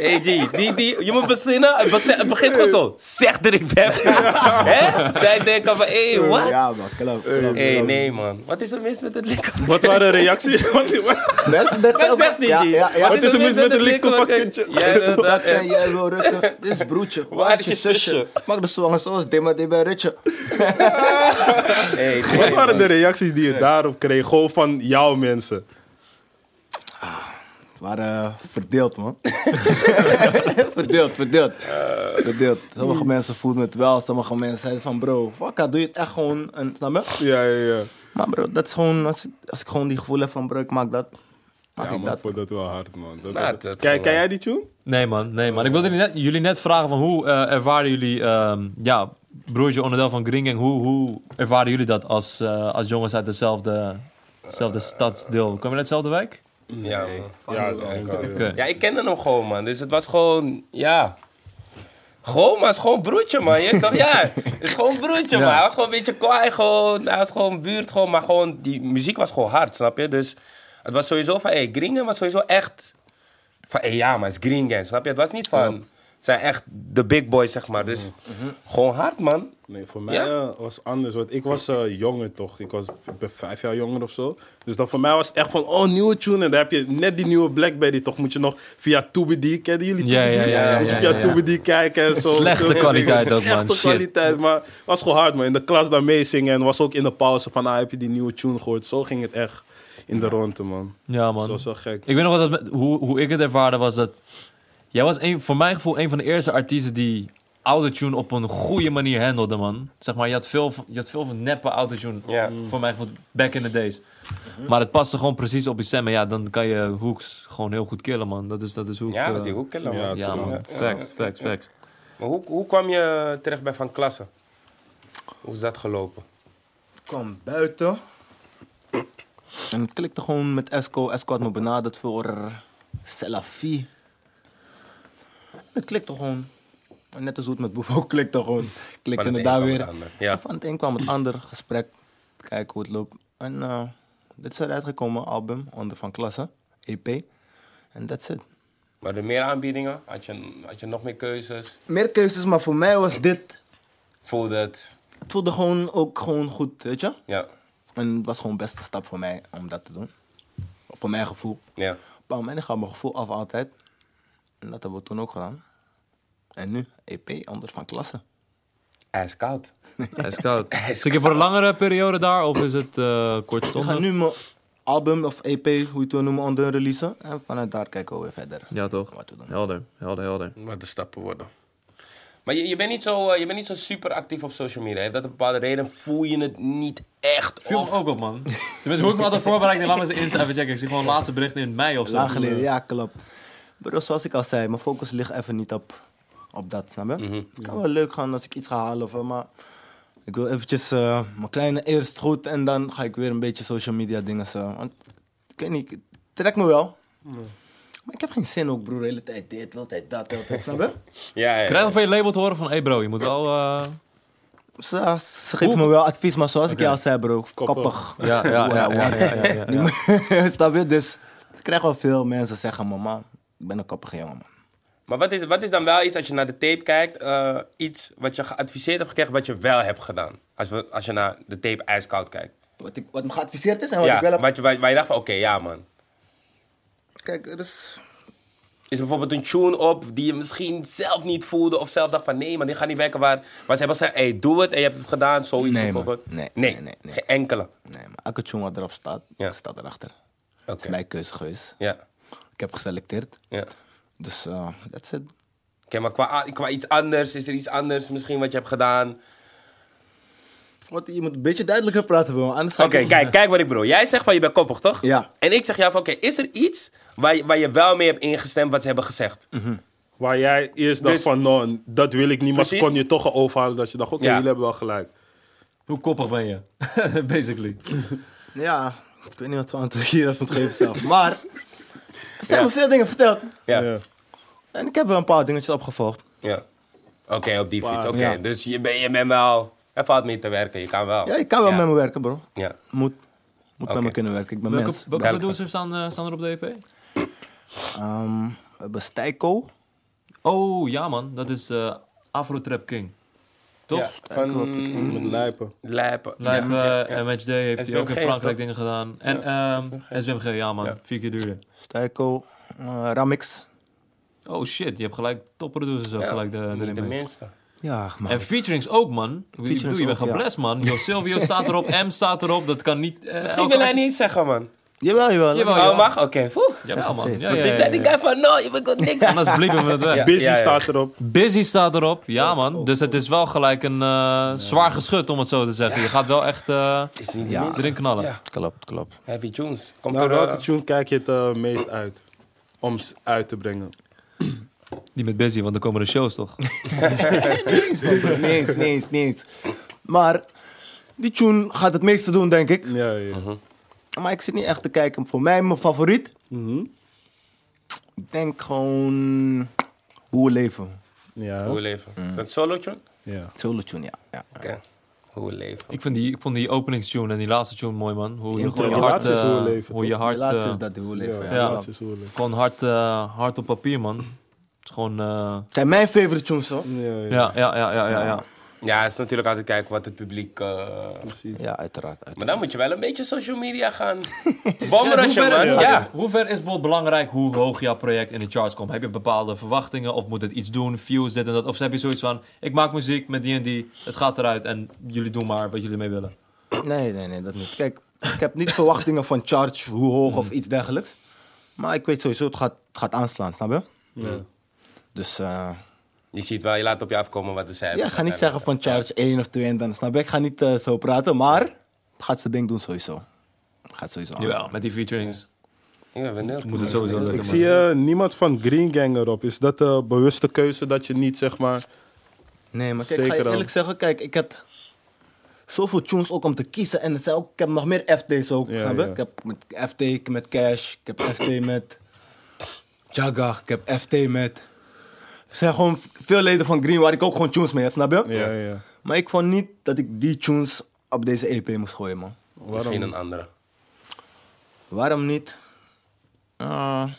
A: Hey, G, die, die, je moet bezinnen, het, beze- het begint gewoon zo. Zeg dat ik ben. Hè? Zij denken van, hé, hey, wat?
D: Ja, man, klopt. klopt.
A: Hé, hey, nee, man. Wat is er mis met het likken?
C: Wat waren de reacties? Wat- wat-
D: Mensen denken
A: Wat
D: ook-
A: zegt die?
D: Ja,
A: G?
D: ja, ja.
A: Wat is er mis met het likken?
C: likken van
A: Wat-
C: kindje?
A: Ja, inderdaad.
D: Dat en jij wil rukken. Dit is broertje. Waar is je zusje? Maak de zwangen zoals dit, maar dit bij Rutje.
A: Hey,
C: Wat waren de reacties die je daarop kreeg? Gewoon van jouw mensen.
D: We waren eh, verdeeld, man. verdeeld, verdeeld. Verdeeld. Sommige mensen voelden het wel, sommige mensen zeiden van bro, wakka, doe je het echt gewoon. En, snap je?
C: Ja, ja, ja.
D: Maar bro, dat is gewoon, als ik, als ik gewoon die gevoel heb van bro, ik maak dat.
C: Ja,
D: Maak ik
C: man, ik
D: dat.
C: vond dat wel hard, man. Dat
A: Nou,
C: was-
A: dat-
C: Kijk, ken jij die tune?
B: Nee man, nee man. Ik wilde jullie net- jullie net vragen van hoe eh, ervaren jullie, ehm, ja, broertje onderdeel van Green Gang, hoe, hoe ervaren jullie dat als, eh, als jongens uit dezelfde, dezelfde stadsdeel? Kom je uit dezelfde wijk?
A: Ja, man.
C: Ja, dat-
B: Oké.
A: Ja, ik kende hem gewoon, man. Dus het was gewoon, ja. Gewoon, maar het is gewoon broertje, man. Je dacht, ja, het is gewoon broertje,
B: Ja.
A: man. Hij was gewoon een beetje kwaai, gewoon. Hij was gewoon buurt, gewoon. Maar gewoon, die muziek was gewoon hard, snap je? Dus het was sowieso van, hé, Gringen was sowieso echt... Van, hé, ja, maar het is Gringen, snap je? Het was niet van... zijn echt de big boys, zeg maar. Dus gewoon hard, man.
C: Nee, voor mij
A: Ja?
C: eh, was het anders. Want ik was eh, jonger toch? Ik, was, ik ben vijf jaar jonger of zo. Dus dan voor mij was het echt van, oh, nieuwe tune. En dan heb je net die nieuwe Blackberry toch? Moet je nog via Toebedee, kennen jullie
B: Ja,
C: Toebedee?
B: ja, ja, ja,
C: Moet je
B: ja,
C: via
B: ja.
C: Toebedee kijken en zo.
B: Slechte
C: Zulke
B: kwaliteit
C: dingen.
B: ook, man.
C: Slechte
B: Shit.
C: kwaliteit, maar het was gewoon hard, man. In de klas daar meezingen en was ook in de pauze van, ah, heb je die nieuwe tune gehoord? Zo ging het echt in de ronde, man.
B: Ja,
C: Dat
B: man.
C: was wel gek.
B: Ik weet nog wat dat, met- hoe, hoe ik het ervaarde was dat... Jij was een, voor mijn gevoel een van de eerste artiesten die autotune op een goede manier handelde, man. Zeg maar, je had veel, van- je had veel van neppe autotune,
A: Ja.
B: voor mijn gevoel, back in the days. Maar het paste gewoon precies op je stem. En ja, dan kan je hooks gewoon heel goed killen, man. Dat is, dat is hoe ik,
A: Ja,
B: eh,
A: was die ook killer, man.
C: Ja,
B: Ja,
C: man.
B: man. Facts, facts, facts.
A: Maar hoe, hoe kwam je terecht bij Van Klassen? Hoe is dat gelopen?
D: Ik kwam buiten. En het klikte gewoon met Esco. Esco had me benaderd voor Selafie. Het klikte gewoon. En Net als hoe het met Boef ook klikte gewoon. Klikte
A: Van het
D: het daar
A: een kwam
D: weer.
A: het ander, ja.
D: En Van het een kwam het ander. Gesprek. Kijken hoe het loopt. En eh, dit is eruit gekomen. Album. Onder van klasse. EP. En that's it.
A: Maar er meer aanbiedingen? Had je, had je nog meer keuzes?
D: Meer keuzes, maar voor mij was dit...
A: Voelde het?
D: Het voelde gewoon ook gewoon goed, weet je?
A: Ja,
D: En het was gewoon de beste stap voor mij om dat te doen. Voor mijn gevoel.
A: ja.
D: Bam, en ik ga mijn gevoel af altijd. En dat hebben we toen ook gedaan. En nu, EP, anders van klasse.
A: Ijskoud.
B: Hij is koud. Zit je voor een langere periode daar of is het eh
D: Ik ga
B: kortstondig?
D: nu mijn album of EP, hoe je het wil noemen, onder releasen. En vanuit daar kijken we weer verder.
B: Ja, toch?
D: Wat we doen.
B: Helder, helder, helder.
A: Wat de stappen worden. Maar je, je, bent niet zo, eh, je bent niet zo super actief op social media. Heeft dat een bepaalde reden? Voel je het niet echt?
B: Viel me
A: Of-
B: ook op, man. Tenminste, hoe ik me altijd voorbereid, laat me eens Insta even checken. Ik zie gewoon het laatste bericht in mei of zo.
D: Lang geleden, ja, klopt. Maar zoals ik al zei, mijn focus ligt even niet op, op dat, snap je?
B: Mhm.
D: Het kan wel leuk gaan als ik iets ga halen, of, eh, maar ik wil eventjes eh, mijn kleine eerst goed en dan ga ik weer een beetje social media dingen zo. Want ik weet niet, het trekt me wel. Maar ik heb geen zin ook, broer, de hele tijd dit, de hele tijd dat, de hele tijd, snap je?
A: Ja, ja, ja.
B: Ik krijg al van je label te horen van, hey bro, je moet wel... eh,
D: Ze, ze geven me wel advies, maar zoals ik je al zei, bro, koppig.
B: Ja, ja, ja, ja, ja, ja, ja.
D: snap je? Dus ik krijg wel veel mensen zeggen, me, man, ik ben een koppige jongen, man.
A: Maar wat is, wat is dan wel iets, als je naar de tape kijkt, eh, iets wat je geadviseerd hebt gekregen, wat je wel hebt gedaan? Als, we, als je naar de tape ijskoud kijkt.
D: Wat, ik, wat me geadviseerd is en wat
A: ja,
D: ik wel heb
A: wat je, waar, waar je dacht van, oké, ja man.
D: Kijk, er is.
A: Is er bijvoorbeeld een tune op die je misschien zelf niet voelde of zelf dacht van nee, maar dit gaat niet werken. Waar, waar ze hebben gezegd, hey, doe het en je hebt het gedaan, zoiets
D: Nee, man.
A: bijvoorbeeld.
D: Nee,
A: nee,
D: nee, nee, nee.
A: geen enkele.
D: Nee, maar elke tune wat erop staat,
A: Ja.
D: staat erachter.
A: Oké.
D: Dat is mijn keuze geweest.
A: Ja,
D: Ik heb geselecteerd.
A: ja.
D: Dus eh that's it.
A: Oké, maar qua, qua iets anders, is er iets anders misschien wat je hebt gedaan?
D: Wat, je moet een beetje duidelijker praten, bro. Anders ga
A: Oké, kijk, kijk wat ik bedoel. Jij zegt van je bent koppig, toch?
D: Ja.
A: En ik zeg jou van oké, is er iets waar je, waar je wel mee hebt ingestemd wat ze hebben gezegd?
C: Waar jij eerst dacht
A: Dus-
C: van, no, dat wil ik niet. Maar ze
A: Precies.
C: kon je toch al overhalen dat je dacht, oké,
A: Ja.
C: jullie hebben wel gelijk.
B: Hoe koppig ben je? Basically.
D: Ja, ik weet niet wat voor antwoord je hierop moet geven zelf. Maar er zijn me veel dingen verteld.
A: Ja.
C: Ja.
A: Ja.
D: En ik heb wel een paar dingetjes opgevolgd.
A: Oké, op die fiets. Oké,
D: Ja.
A: dus je, ben, je bent wel... Er valt mee te werken, je kan wel.
D: Ja, ik kan wel
A: Ja.
D: met me werken, bro.
A: Ja.
D: Moet. Moet
A: Oké.
D: met me kunnen werken. Ik ben
B: Welke,
D: mens.
B: welke
D: Ja.
B: producers staan, eh, staan er op de EP?
D: Ehm, we hebben Stijko.
B: Oh, ja man, dat is eh Afro Trap King. Toch?
A: Ja, van
C: Met lijpen.
A: lijpen.
B: Lijp, eh, MHD heeft hij ook in
A: SBMG, toch?
B: Frankrijk dingen gedaan. En ehm SWMG, ja man, vier keer duurder.
D: Stijko. eh, Ramix.
B: Oh shit, je hebt gelijk topproducers ook
A: Ja,
B: gelijk de,
A: niet
B: erin
A: de
B: mee.
A: minste.
D: Ja, man.
B: En featurings ook, man. Ik bedoel, je bent
D: ook, ja.
B: geblest, man. Yo, Silvio staat erop, M staat erop. Dat kan niet... eh,
A: Misschien
B: elke
A: wil hij
B: artiest-
A: niet zeggen, man.
D: Jawel, jawel.
B: Jawel,
A: Oh,
B: jawel.
A: mag? Oké, poeh.
B: Jawel, man.
D: Zit,
B: Ja,
D: zit,
B: ja,
A: Ze
B: ja,
A: zei die
B: ja.
A: guy van, no, je bent niks.
B: Anders bliepen we het weg.
A: Ja.
C: Busy staat erop.
B: Busy staat erop. Ja, man. Dus het is wel gelijk een eh, zwaar geschut, om het zo te zeggen. Je gaat wel echt eh,
A: Is niet de
D: Ja.
A: minste.
B: erin knallen.
A: Ja.
D: Klopt, klopt.
A: Heavy tunes. Komt
C: Naar
A: er
C: Nou, welke
A: eh,
C: tune kijk je het eh, meest uit? Om ze uit te brengen.
B: Niet met busy, want dan komen de shows toch?
D: eens, man, bro. Niet eens, niet eens, niet eens. Maar die tune gaat het meeste doen, denk ik.
C: Ja, ja.
D: Maar ik zit niet echt te kijken. Voor mij, mijn favoriet. Ik denk gewoon. Hoe we leven.
A: Hoe
C: ja.
A: we leven.
B: Mm.
A: Is dat solo tune?
C: ja.
D: Solo tune, ja. ja.
A: Oké. Hoe we leven.
B: ik, vind die, ik vond die openingstune en die laatste tune mooi, man. Hoe je
D: Die
B: gewoon je
D: intro-
B: hart...
C: die laatste is
B: eh,
C: hoe we leven,
B: hoe je
D: De
B: hart...
D: laatste
B: eh,
D: is dat, hoe we leven. Ja,
C: ja.
B: dat
C: dat is hoe we leven.
B: Gewoon hard, eh, hard op papier, man. Het is is gewoon... eh,
D: Zijn mijn favorite tunes, hoor.
B: ja, ja, ja, ja, ja, ja.
A: Ja, het is natuurlijk altijd kijken wat het publiek... eh,
D: Ja, uiteraard. uiteraard.
A: Maar dan moet je wel een beetje social media gaan bomrushen,
B: hoe,
A: man.
B: ver,
A: Ja.
B: hoe ver is bijvoorbeeld belangrijk hoe hoog jouw project in de charts komt? Heb je bepaalde verwachtingen of moet het iets doen, views, dit en dat? Of heb je zoiets van, ik maak muziek met die en die, het gaat eruit en jullie doen maar wat jullie mee willen?
D: Nee, nee, nee, dat niet. Kijk, ik heb niet verwachtingen van charge, hoe hoog of iets dergelijks. Maar ik weet sowieso, het gaat, het gaat aanslaan, snap je? Dus eh,
A: Je ziet wel, je laat op je afkomen wat de cijfers
D: ja, ik ga niet zeggen van charge 1 of 2 en dan, snap je? Ik ga niet eh, zo praten, maar het gaat zijn ding doen sowieso. Het gaat sowieso
B: Jawel,
D: aanslaan.
B: met die featurings
A: Ik ben benieuwd.
B: moet het sowieso lukken.
C: Ik
B: man.
C: zie eh, niemand van Green Gang erop. Is dat de bewuste keuze dat je niet, zeg maar...
D: Nee, maar kijk, ik ga
C: Zeker
D: je
C: dan.
D: eerlijk zeggen, kijk, ik had zoveel tunes ook om te kiezen. En het zijn ook, ik heb nog meer FT's ook,
C: Ja,
D: snap je?
C: ja.
D: Ik heb met FT ik met Cash, ik heb FT met Jaga, ik heb FT met... Er zijn gewoon veel leden van Green waar ik ook gewoon tunes mee heb, snap je?
C: Ja, ja.
D: Maar ik vond niet dat ik die tunes op deze EP moest gooien, man.
A: Misschien een andere.
D: Waarom niet? Eh,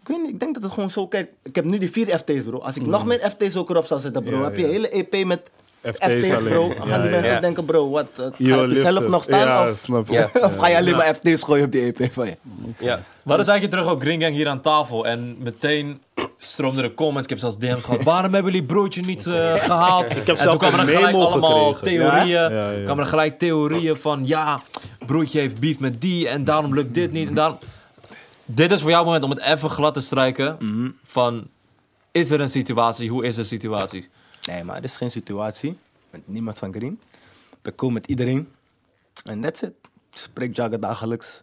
D: ik weet niet, ik denk dat het gewoon zo... Kijk, ik heb nu die vier FT's, bro. Als ik nog meer FT's ook erop zou zetten, bro,
C: Mhm. Ja,
D: heb je
C: ja.
D: een hele EP met
C: FT's
D: FT's,
C: alleen.
D: bro.
C: Ja,
D: Dan gaan die
C: ja.
D: mensen
A: Ja.
D: denken, bro, wat? eh,
C: Je
D: ga je op
C: lift
D: jezelf
C: het.
D: nog staan?
C: Ja,
D: of,
C: snap ik.
A: Ja.
D: of ga je alleen maar FT's gooien op die EP van je?
A: Ja.
B: We hadden het eigenlijk terug op Green Gang hier aan tafel. En meteen stroomden er comments. Ik heb zelfs DM's gehad. Waarom hebben jullie broodje niet eh, gehaald? Ik
C: heb zelf
B: toen kwamen
C: een
B: er gelijk
C: memo
B: allemaal
C: gekregen.
B: theorieën.
C: Ja, hè? Ja, ja.
B: kwamen er gelijk theorieën van... Ja, broodje heeft beef met die. En daarom lukt dit niet. En daarom... Dit is voor jouw moment om het even glad te strijken.
C: Mhm.
B: Van, is er een situatie? Hoe is de situatie?
D: Nee, maar er is geen situatie. Met niemand van Green. Ik kom met iedereen. En that's it. Ik Spreek Jaga dagelijks.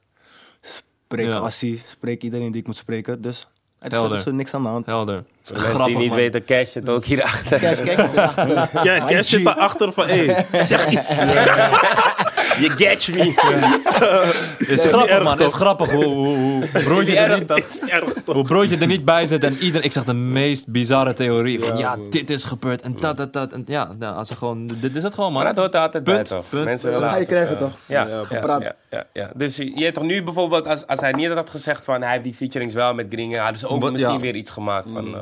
D: Spreek
B: Ja.
D: Assie. Spreek iedereen die ik moet spreken. Dus er is
B: Helder.
D: verder zo niks aan de hand.
B: Helder. Dat is
A: Mensen die niet
B: man.
A: weten, Cash zit ook hierachter.
D: Cash, kijk eens achter.
C: Kijk, Cash zit daarachter van, hé, zeg iets.
A: Je catch me.
B: is grappig, man. is grappig hoe, hoe, hoe broodje er niet...
C: Erg toch?
B: Hoe broodje er niet bij zit en iedereen... Ik zag de meest bizarre theorie van... Ja, dit is gebeurd en dat, dat, dat. En ja, nou, als ze gewoon... Dit is het gewoon, man.
A: Maar dat hoort er altijd bij,
B: Punt,
A: toch?
B: punt.
A: Mensen
D: Dat
A: willen
D: ga je
A: altijd-
D: krijgen, toch?
A: Ja, ja,
D: gepraat.
A: ja, ja, ja. Dus je je hebt toch nu bijvoorbeeld, als, als hij niet had gezegd van hij heeft die featurings wel met Gringen, hadden ze ook
B: Wat-
A: misschien
B: ja.
A: weer iets gemaakt van eh,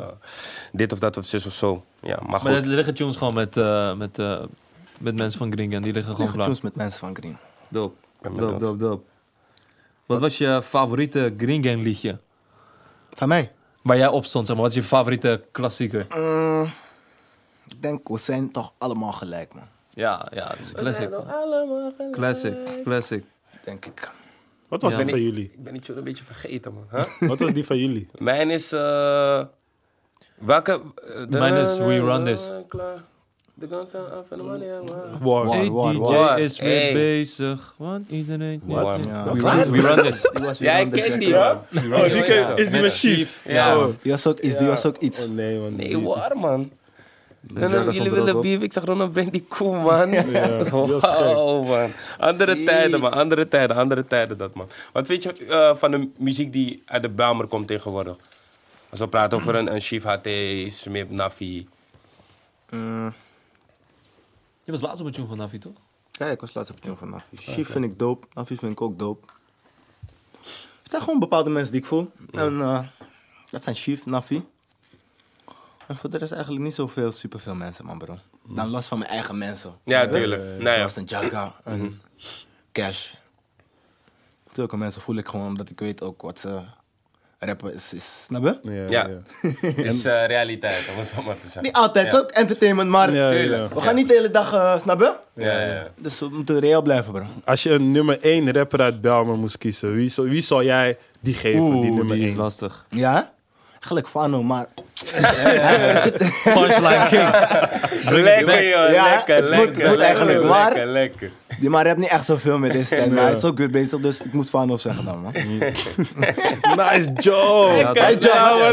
A: dit of dat of zus of zo. Ja, maar goed.
B: Maar er liggen tunes gewoon met, eh, met, eh, met mensen van Gringen. Die liggen gewoon klaar.
D: Tunes met mensen van Green.
B: Doop,
A: ben
B: doop,
A: benieuwd.
B: doop, doop. Wat was je favoriete Green Gang liedje?
D: Van mij?
B: Waar jij op stond, zeg maar. Wat is je favoriete klassieker?
D: Ik denk, we zijn toch allemaal gelijk, man.
B: Ja, ja, dat is een classic. Classic, classic.
D: Denk ik.
C: Wat was
B: Ja.
C: die van jullie?
A: Ik ben die tune een beetje vergeten, man. Huh?
C: Wat was die van jullie?
A: Mijn is. eh welke. eh, de-
B: Mijn is We Run This.
A: Klaar. De guns are off and the money are gone.
C: War.
D: War.
B: Hey,
D: waar,
B: DJ
A: waar.
B: is weer
A: Hey.
B: bezig, want iedereen...
A: Wat?
D: Ja.
B: We, run, we run this.
A: Jij kent die, man.
C: Oh, die ken- is die
B: Met
C: met Chief?
A: Ja. man.
D: Die was ook iets, die was ook iets.
C: Oh, nee, man.
A: Nee,
C: Die-
A: waar, man. Dan,
B: Jaga stond
A: jullie
B: er ook
A: willen
B: op.
A: beef, ik zeg Ronald, breng die koe, man.
C: Ja, dat is gek.
A: Wow, man. Andere
D: Ziek.
A: tijden, man. Andere tijden, andere tijden dat, man. Wat weet je eh, van de muziek die uit de Belmer komt tegenwoordig? Als we praten over een, een Chief HT, Smip, Nafi.
B: Je was laatst op een tune van Navi, toch?
D: Kijk, ik was laatst op tune van Nafi. Chief vind ik dope, Nafi vind ik ook dope. Het zijn gewoon bepaalde mensen die ik voel.
A: Mm.
D: En eh, dat zijn Chief, Nafi. En voor de rest eigenlijk niet zoveel, superveel mensen, man, bro. Dan los van mijn eigen mensen.
A: Mm. Ja, tuurlijk. nou ja. Mm-hmm.
D: Zoals een Jaga, een Cash. Zulke mensen voel ik gewoon omdat ik weet ook wat ze rappen is, is snap je?
C: Ja,
A: Ja.
C: ja.
A: is eh, realiteit, om het zo maar te zeggen.
D: Niet altijd, het is ook entertainment, maar
C: Ja, ja, ja.
A: Tuurlijk.
D: we gaan niet de hele dag eh, snap je?
A: Ja, ja, ja.
D: Dus we moeten reëel blijven, bro.
C: Als je een nummer 1 rapper uit Belmer moest kiezen, wie zou, wie zou jij die geven, die nummer
B: die is
C: 1?
B: lastig.
D: Ja? hè? Eigenlijk Fano, maar...
B: Punchline King.
A: Lekker, joh.
D: Ja,
A: lekker,
D: het moet-
A: lekker.
D: het moet eigenlijk,
A: lekker,
D: maar-
A: Lekker, lekker.
D: Die maar hebt niet echt zoveel met deze tijd, maar hij is ook weer bezig, dus ik moet Fano zeggen dan, man.
C: Nice job!
B: Ja,
C: Nice
B: dat-
C: job, man,
A: Ja,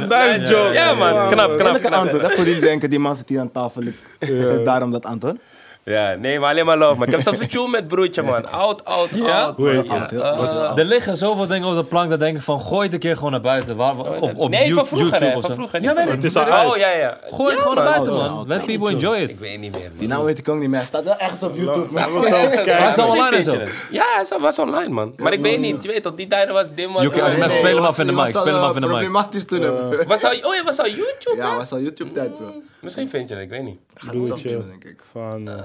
C: nice job!
A: Ja, man. Knap, knap.
D: Eerlijke antwoord, dat voor jullie denken, die man zit hier aan tafel, ik geef daarom dat antwoord.
A: Ja, nee, maar alleen maar love, man. Ik heb zelfs een tune met broertje, man. Oud, oud,
B: Ja?
A: oud.
C: Hoe heet
A: man.
D: die?
A: Ja, eh,
B: Er liggen zoveel dingen op de plank dat denken van gooi het een keer gewoon naar buiten. Waar, op, op
A: Oh, nee,
B: You-
A: van vroeger,
B: YouTube
A: hè,
B: of
A: van
B: zo.
A: vroeger.
B: Ja,
A: niet
B: weet
A: van
B: ik.
C: Het is al
A: nu.
C: uit.
A: Oh, ja, ja.
B: Gooi het gewoon naar buiten,
D: man.
B: man. Let people enjoy it.
A: Ik weet niet meer, man.
D: Die naam weet ik ook niet meer. Hij staat wel ergens op YouTube.
C: nou,
D: man.
B: Hij is al
A: Misschien
B: online en
A: vind
B: zo.
A: je het. Ja, hij was online, man. Maar ik weet niet, je weet toch, die tijden was dit, man. was-
B: Jokie, als je
D: Nee,
B: met spelen hem af in de
D: was-
B: mic,
D: was
B: speel hem
D: al,
B: af in de
D: eh,
B: mic.
D: problematisch toen, hè.
A: Was al, oh, je was al YouTube,
D: Ja,
A: man.
D: was al YouTube-tijd, bro.
A: Misschien vind je het, ik weet niet.
D: Gaat het
C: Broertje.
D: opzoeken, denk ik.
C: Van, eh,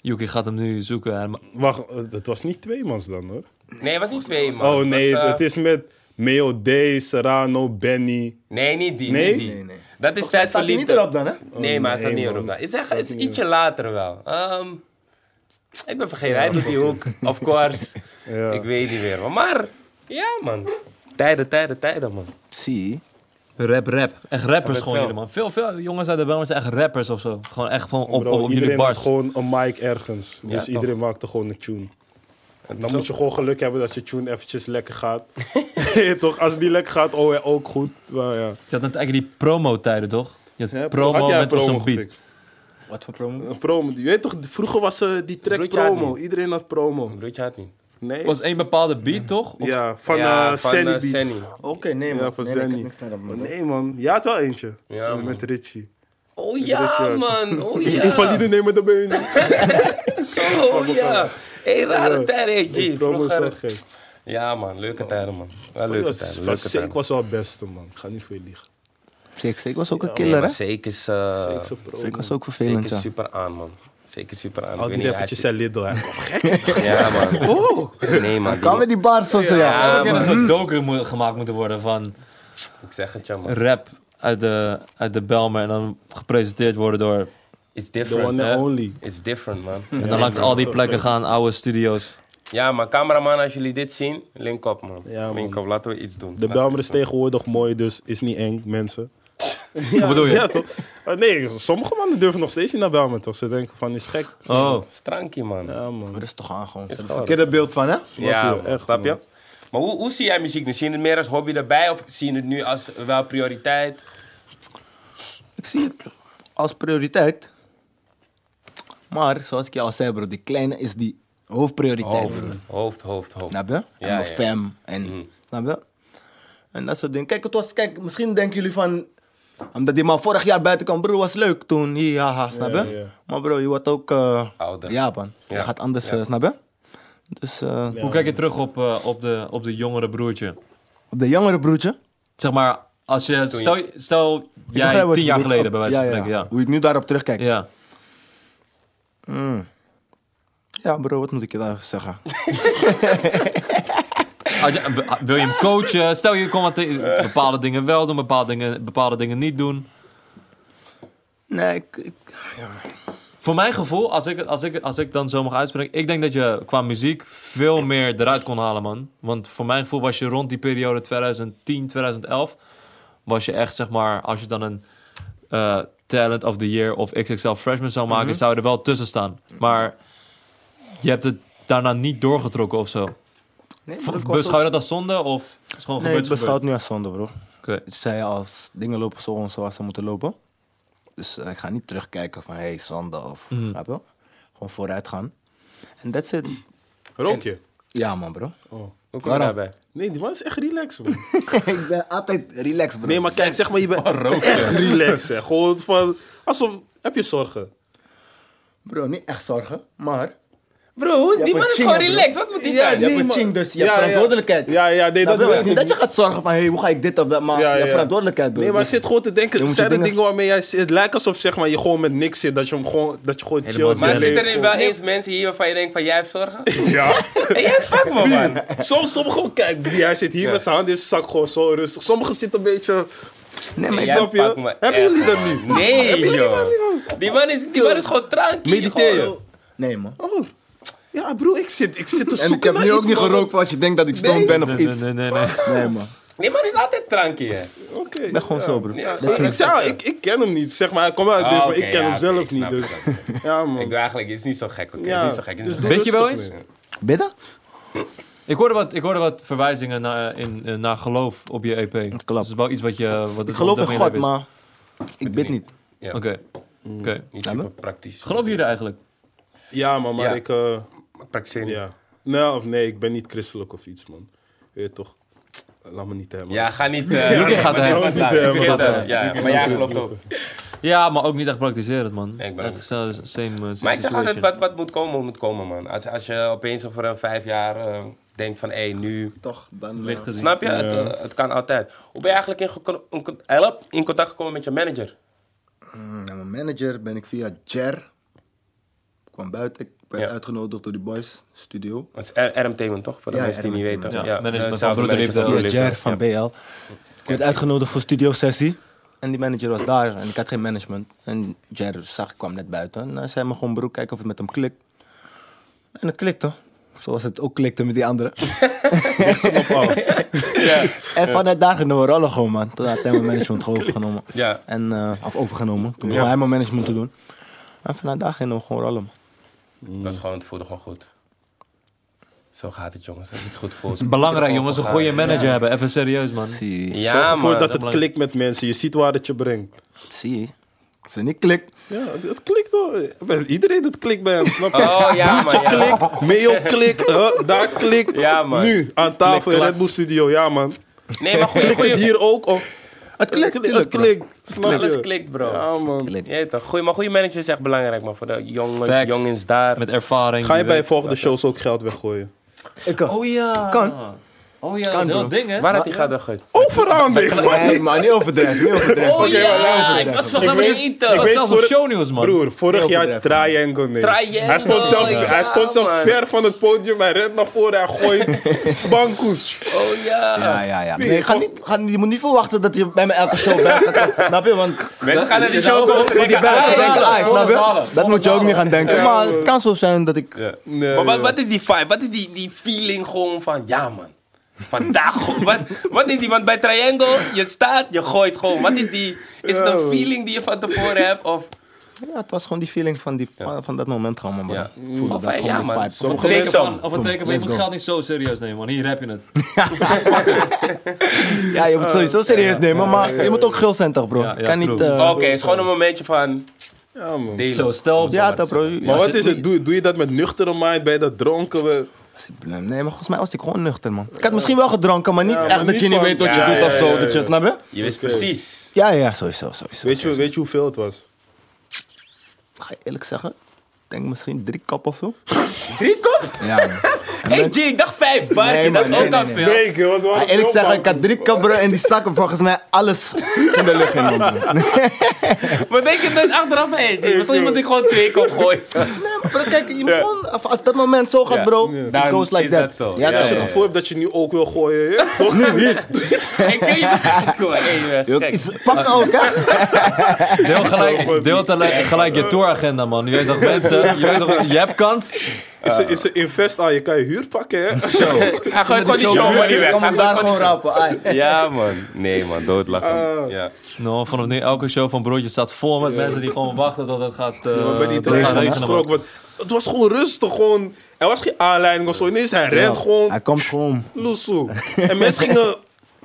B: Yuki gaat hem nu zoeken. Hij ma-
C: wacht, eh, het was niet tweemans dan hoor.
A: Nee, het was niet twee, man.
C: Oh nee,
A: was, eh,
C: het is met Meo D, Serrano, Benny.
A: Nee, niet die,
C: Nee?
A: niet die.
D: Nee, nee.
A: Dat is tijd
D: Staat hij niet
A: verliefd.
D: erop dan, hè?
A: Nee, maar hij staat
C: nee,
A: niet
C: man.
A: erop. Het is, echt, het is ietsje later wel. Ehm, ik ben vergeten, hij doet die hoek, of course.
C: Ja.
A: Ik weet niet meer, man. Maar, ja, man. Tijden, tijden, tijden, man.
D: Zie.
B: Rap, rap. Echt rappers
A: het
B: gewoon
A: wel.
B: jullie, man. Veel, veel jongens uit de Belmer zijn echt rappers of zo. Gewoon echt gewoon op,
C: Bro,
B: op, op jullie
C: iedereen had
B: bars.
C: gewoon een mic ergens.
A: Ja,
C: Dus
A: toch.
C: iedereen maakte gewoon een tune.
A: Het
C: Dan
A: is ook-
C: moet je gewoon geluk hebben dat je tune eventjes lekker gaat. Ja, Toch, als die lekker gaat, oh ja, ook goed. Maar ja.
B: Je had net eigenlijk die promo-tijden, toch? Je had
C: Ja,
B: promo
C: had jij een
B: met op zo'n beat.
C: gepikt?
D: Wat voor promo?
C: Een promo. Je weet toch, vroeger was eh, die track
A: Broertje had
C: promo.
A: niet.
C: Iedereen had promo.
A: Broertje had niet.
C: Nee?
B: Het was één bepaalde beat, toch? Of-
C: ja, van
A: Ja,
C: eh,
A: van,
C: Sandy
A: eh,
C: Beat.
A: Sandy.
D: Oké, nee, man.
C: Ja, van
D: Nee, nee, ik heb
C: Sandy.
D: niks naar dat, man.
C: Nee man, jij had wel eentje.
A: Ja, man.
C: Met Richie.
A: Oh
C: is,
A: ja,
C: eh,
A: man. Oh
C: Ik van
A: ja.
C: die nemen de benen.
A: Oh ja. Hé, rare tijden, hey, G.
C: Promo is wel
A: Vroeger.
C: gek.
A: Ja, man. Leuke tijden, man. Wel leuke tijden.
C: Van
A: Leuke
C: Seek
A: tijden.
C: was wel het beste man. Ik ga niet voor je liegen.
D: Six, ik was ook een
A: Nee,
D: killer,
A: maar
D: hè?
A: Zeker is... eh,
C: Seek zijn promo.
D: Ik was ook vervelend,
A: Zeker
D: ja.
A: super aan, man. Zeker super aan. Ik
C: Al die
A: weet niet,
C: rappertjes
A: hij
C: zijn Lidl. hè.
A: is- Ja, man.
C: Oh.
A: Nee, man.
D: Kan
A: die-
D: met die bars zo, ja.
A: Ja,
B: Ja,
A: man.
B: er zou doker mo- gemaakt moeten worden van
A: Ik zeg het, ja, man.
B: rap uit de, uit de Belmer en dan gepresenteerd worden door...
A: It's
C: The
A: different,
C: one
A: hè?
C: and only.
A: It's different, man.
B: En dan langs al die plekken gaan, oude studio's.
A: Ja, maar cameraman, als jullie dit zien, link op, man.
C: Ja, man.
A: Link op, laten we iets doen.
C: De
A: Laten we
C: Belmer is
A: iets doen.
C: tegenwoordig mooi, dus is niet eng, mensen.
B: Wat bedoel je?
C: Ja, toch? Ah, nee, sommige mannen durven nog steeds niet naar Belmer, toch? Ze denken van, is gek.
B: Oh,
A: Strankie, man. Ja,
C: Ja, man.
D: Rustig aan, gewoon. Ze hebben
A: gewoon-
D: een verkeerde beeld van, hè?
A: man,
C: echt,
A: snap je?
C: man.
A: Maar hoe, hoe zie jij muziek nu? Zie je het meer als hobby erbij of zie je het nu als wel prioriteit?
D: Ik zie het als prioriteit. Maar, zoals ik je al zei, bro, die kleine is die
B: Oh,
D: hoofdprioriteit.
A: Hoofd, hoofd, hoofd, hoofd.
D: Snap je? En
A: Ja,
D: mijn
A: ja.
D: fam. En,
B: Mhm.
D: Snap je? En dat soort dingen. Kijk, het was, kijk, misschien denken jullie van... Omdat die man vorig jaar buiten kwam, bro, was leuk toen. Hi, haha, snap je?
C: Ja, ja.
D: Maar bro, je wordt ook... eh,
A: Ouder.
D: Ja, man. Je
A: Ja.
D: gaat anders,
A: Ja.
D: eh, snap je? Dus eh,
B: hoe kijk je terug op, eh, op, de, op de jongere broertje?
D: op de jongere broertje...
B: Zeg maar, als je, stel, stel
D: Ik begrijp
B: jij
D: wat
B: tien
D: je
B: jaar
D: bedoelt.
B: geleden bij wijze van
D: Ja, ja,
B: spreken, ja.
D: Hoe ik nu daarop terugkijk.
B: Ja.
D: Ja, bro, wat moet ik je daarover zeggen?
B: Had je- w- Wil je hem coachen? Stel je kon wat te- bepaalde dingen wel doen, bepaalde dingen, bepaalde dingen niet doen.
D: Nee, ik, ik,
B: Voor mijn gevoel, als ik, als, ik, als ik dan zo mag uitspreken, ik denk dat je qua muziek veel meer eruit kon halen, man. Want voor mijn gevoel was je rond die periode 2010, 2011, was je echt, zeg maar, als je dan een eh, Talent of the Year of XXL Freshman zou maken, zou je er wel tussen staan. Maar je hebt het daarna niet doorgetrokken of zo.
D: nee, bro, ik was
B: Beschouw je
D: ook-
B: dat als zonde of is het gewoon
D: Nee,
B: gebeurd?
D: ik
B: is
D: beschouw
B: gebeurd?
D: het nu als zonde, bro.
B: Oké.
D: Het zei als dingen lopen zo en zoals ze moeten lopen. Dus eh, ik ga niet terugkijken van, hey, zonde of... snap je? Gewoon vooruit gaan. En that's it.
C: Rook je?
D: Ja, man, bro.
C: Oh.
A: Hoe kom je
D: Waarom?
A: daarbij?
C: Nee, die man is echt relaxed, man.
D: ik ben altijd relaxed, bro.
C: Nee, maar kijk, zeg maar, je bent echt relaxed, hè. Gewoon van, alsof, heb je zorgen?
D: Bro, niet echt zorgen, maar...
A: Bro,
D: Ja,
A: die
D: maar
A: man is
D: ching,
A: gewoon
D: bro.
A: relaxed. Wat moet die
D: Ja,
A: zijn?
D: je hebt een
C: maar-
D: ching, dus je
C: Ja,
D: hebt
C: ja.
D: verantwoordelijkheid.
C: Ja, ja, nee,
D: Snap
C: dat
D: je?
C: wil ik
D: Niet dat je gaat zorgen van, hey, hoe ga ik dit of dat maken?
C: Ja,
D: je hebt
C: ja.
D: verantwoordelijkheid, bro.
C: Nee, maar ik
D: Dus-
C: zit gewoon te
D: Je
C: denken,
D: moet je
C: zijn er
D: dingen-
C: dingen waarmee jij... zit- Het lijkt alsof zeg maar, je gewoon met niks zit, dat je, hem gewoon, dat je gewoon
B: Helemaal
C: chill
A: Maar
B: zen.
C: zit.
A: zitten er wel eens mensen hier waarvan je denkt van jij hebt zorgen?
C: Ja.
A: Hé, jij pak me, man.
C: Soms, sommigen gewoon, kijk, die- hij zit hier met zijn hand in zijn zak gewoon zo rustig. Sommigen zitten een beetje...
D: Nee, maar
A: Jij
C: snap je?
A: pakt me
C: Hebben
A: echt,
C: jullie dat
A: man.
C: niet?
A: Nee, joh. Die man is, die man is gewoon tranquil.
C: Mediteren.
A: gewoon-
D: Nee, man.
C: Oh, ja broer, ik zit, ik zit te zoeken
D: En ik heb
C: naar
D: nu ook
C: iets,
D: niet
C: man.
D: gerookt als je denkt dat ik stoned ben of
B: Nee,
D: iets.
B: nee, nee, nee.
D: Nee, man.
A: Die man is altijd tranquil, hè.
C: Oké.
D: Ik ben gewoon
C: ja.
D: sober.
A: Ja,
D: That's
C: Ik,
D: it.
C: zei, ik, ik ken hem niet, zeg maar. Hij komt uit
A: Ah,
C: dit, maar
A: oké,
C: ik ken
A: ja,
C: hem
A: oké,
C: zelf
A: ik
C: niet.
A: snap
C: Dus.
A: het.
C: Ja,
A: Ik
C: man.
A: wil eigenlijk, het is niet zo gek, oké.
C: Ja.
A: Het is niet zo gek. het is
C: Dus
A: niet zo gek.
B: Weet je
C: doe
B: wel
C: rustig
B: eens?
C: mee.
D: Bidden?
B: Ik hoorde wat, ik hoorde wat verwijzingen naar, in, eh, naar geloof op je Dus EP.
D: klopt.
B: Dat is wel iets eh, wat je... Wat
D: Ik geloof in God,
B: maar.
D: maar ik bid niet.
A: Ja.
B: Oké.
C: Mm.
B: Oké.
A: Niet super praktisch.
B: Geloof je er eigenlijk?
C: Ja, man, maar
A: Ja.
C: ik... eh,
A: Ik Praktiseer niet.
C: ja. Nou, of nee, ik ben niet christelijk of iets, man. Weet je toch? Laat me niet hebben.
A: Ja, ga niet. eh,
B: Joekie gaat
A: maar-
B: hem.
A: maar-
B: Joekie
A: maar-
B: gaat
A: maar-
B: hem.
A: ja, Maar jij gelooft ook.
B: Ja, maar ook niet echt praktiserend, man.
A: Nee, ik ben
B: Echt
A: ook-
B: zo- same, eh, same
A: Maar ik zeg altijd,
B: situation.
A: wat, wat moet komen, moet komen, man. Als, als je opeens over eh, vijf jaar eh, denkt van, hé, nu...
D: Toch, dan...
B: Licht gezien.
A: Snap je? Het, eh, het kan altijd. Hoe ben je eigenlijk in, gecon- in con- help, in contact gekomen met je manager?
D: Mm, ja, mijn manager ben ik via Jer. Ik kwam buiten, ik werd
A: Ja.
D: uitgenodigd door die boys, studio.
A: Dat is R- RM-tainment, toch? Voor de
D: Ja,
A: mensen die niet weten.
B: Ja, management
A: de
B: van
A: sound manager
B: Broederliefde.
A: van
B: Via
D: Via
A: Broederliefde.
D: Jer van BL. Ik werd uitgenodigd voor studiosessie. En die manager was daar en ik had geen management. En Jer zag, ik kwam net buiten. En hij zei me gewoon broek, kijken of het met hem klikt. En het klikte. Zoals het ook klikte met die anderen. En vanuit daar gingen we rollen gewoon, man. Toen had hij mijn management gewoon overgenomen.
A: Ja.
D: En, eh, of overgenomen. Toen begon hij mijn management te doen. En vanuit daar gingen we gewoon rollen, man.
A: Dat is gewoon, het voelde gewoon goed. Zo gaat het, jongens. Als je het goed voelt.
B: Het is belangrijk,
A: moet je er
B: jongens, een
A: gewoon
B: goede
A: voor
B: manager hebben. Even serieus, man.
D: Zie,
A: gaan.
D: je.
C: Zorg
A: Ja,
C: ervoor
A: man.
C: dat
B: dat
C: het
B: belang-
C: klikt met mensen. Je ziet waar het je brengt.
D: zie. je. Als het niet klikt,
C: Ja, het- het klikt hoor. Bij Iedereen dat klikt bij hem, snap je?
A: Oh, ja, man. Ja.
C: Klik, mail klik, huh, daar klik.
A: Ja, man.
C: Nu, aan tafel in Red Bull Studio, ja man.
A: Nee, maar goeie,
C: Klikt het
A: goeie,
C: hier ook? Of...
D: het klikt.
C: het
D: tuurlijk, man.
C: klikt. Snap
A: alles
C: je?
A: klikt, bro.
C: Ja man.
D: Klikt.
A: Ja, toch. Goeie, maar goede manager is echt belangrijk, man. Voor de jongens,
B: Facts.
A: jongens daar.
B: Met ervaring.
C: Ga je bij
B: weet-
C: volgende shows ook geld weggooien?
D: Ik ook.
B: Oh ja.
D: Kan.
B: Oh ja, dat is wel
D: bro.
B: een ding, hè?
A: Waar had hij gaat dat goed?
C: Overal dit.
D: Nee, maar niet overdreven, niet overdreven.
A: Oh ja, ik was nog
C: Ik
A: aan
C: weet-
A: het
B: Dat
C: ik
A: eten.
B: was
C: weet
B: zelfs
C: voor
B: op
C: het-
B: shownieuws, man.
C: Broer, vorig
D: Heel
C: jaar
D: bedrijf.
C: Triangle, nee.
A: Triangle,
C: hij stond zelf,
A: ja,
C: hij stond zelf
A: man.
C: ver van het podium, hij rent naar voren, hij gooit bankoes.
A: Oh ja.
D: Ja, ja, ja. Nee, ga niet, ga, niet- je moet niet verwachten dat je bij me elke show bent. Dat- Snap je? Want
A: Mensen gaan naar die
D: Ja,
A: show komen.
D: moet die
A: denken,
D: band
A: ah,
D: denken,
A: ja.
D: ah, snap je?
B: zalen,
D: Dat
B: volle
D: moet je ook
B: zalen.
D: niet gaan denken. Maar het kan zo zijn dat ik...
A: Ja.
C: Nee,
A: maar wat,
C: ja.
A: wat is die vibe? Wat is die, die feeling gewoon van, ja man, vandaag gewoon. Wat, wat is die? Want bij Triangle, je staat, je gooit gewoon. Wat is die? Is het
C: Ja,
A: een
C: man.
A: feeling die je van tevoren hebt? Of,
D: Ja, het was gewoon die feeling van, die, van, van dat moment gewoon, man. bro.
A: Ja.
D: Ik voelde
A: Of,
D: dat
A: eh,
D: gewoon
A: ja,
D: die
A: man.
D: vibe.
A: Sommige
B: Of een teken
A: Bliksem.
B: van, of een teken van, je
D: Let's
B: moet
D: go.
B: geld niet zo serieus nemen, man. Hier heb je het.
D: Ja, je moet het sowieso serieus nemen, maar je moet ook gul zijn toch, bro?
B: Ja, ja,
D: kan niet...
B: true.
D: eh,
A: Oké, het is gewoon een momentje van
C: Ja, man.
A: delen.
B: Zo, stel.
D: Ja, toch, bro?
C: Maar
D: Ja,
C: wat is het? Doe, doe je dat met nuchtere mind bij dat dronken? We...
D: was ik blind? Nee, maar volgens mij was ik gewoon nuchter, man. Ik had misschien wel gedronken, maar niet echt dat
C: niet
D: je niet
C: van-
D: weet wat
A: Ja,
D: je
A: ja,
D: doet of
A: ja,
D: zo.
A: ja,
D: Dat je,
A: ja.
D: snap je?
A: Je wist precies.
D: Ja, ja, sowieso, sowieso.
C: Weet, je, weet je hoeveel het was?
D: Ga je eerlijk zeggen? Ik denk misschien drie kap of zo.
A: Drie kop?
D: Ja, man.
A: Hey G, ik dacht vijf bar.
D: Nee,
A: je dacht
D: man, nee,
A: ook aan
D: nee,
A: veel.
C: Nee, wat was
D: Maar eerlijk zeggen, ik had drie kabren en die zakken volgens mij alles in de lucht in. man, bro. Nee,
A: Maar denk je dat achteraf, hey, G, misschien moet ik gewoon twee kop gooien.
D: maar bro, kijk, je moet gewoon, of als dat moment zo gaat, bro, it
A: Dan
D: goes like
A: is
D: that.
A: dat zo.
D: Ja,
A: Ja,
D: dat is
C: Als je het
D: het
C: gevoel hebt dat je nu ook wil gooien, ja? toch?
A: Hey, kun je me gek hoor. Hey, eh, je bent gek.
D: gevoel. Iets- Pak ook, hè?
B: Deel gelijk, deel tegelijk- gelijk je touragenda, man. Je weet toch, mensen, je, weet toch, je hebt kans.
C: Is er- Is een invest aan, je kan je huur pakken, hè?
A: Hij gooit gewoon die show money weg.
D: Kom
A: Hij
D: hem
A: gooit
D: daar
A: gewoon
D: gewoon rapen. ai.
A: die- Ja man, nee man, doodlachen. Ja.
B: Nou, vanaf nu, elke show van Broodje staat vol met mensen die gewoon wachten tot het gaat. eh,
C: Maar bij die
B: tot het gaat
C: drinken
B: regenen, man.
C: gestroken, want het was gewoon rustig, gewoon... Er was geen aanleiding of zo, ineens hij rent gewoon,
D: Hij komt gewoon.
C: loesoe. En mensen gingen...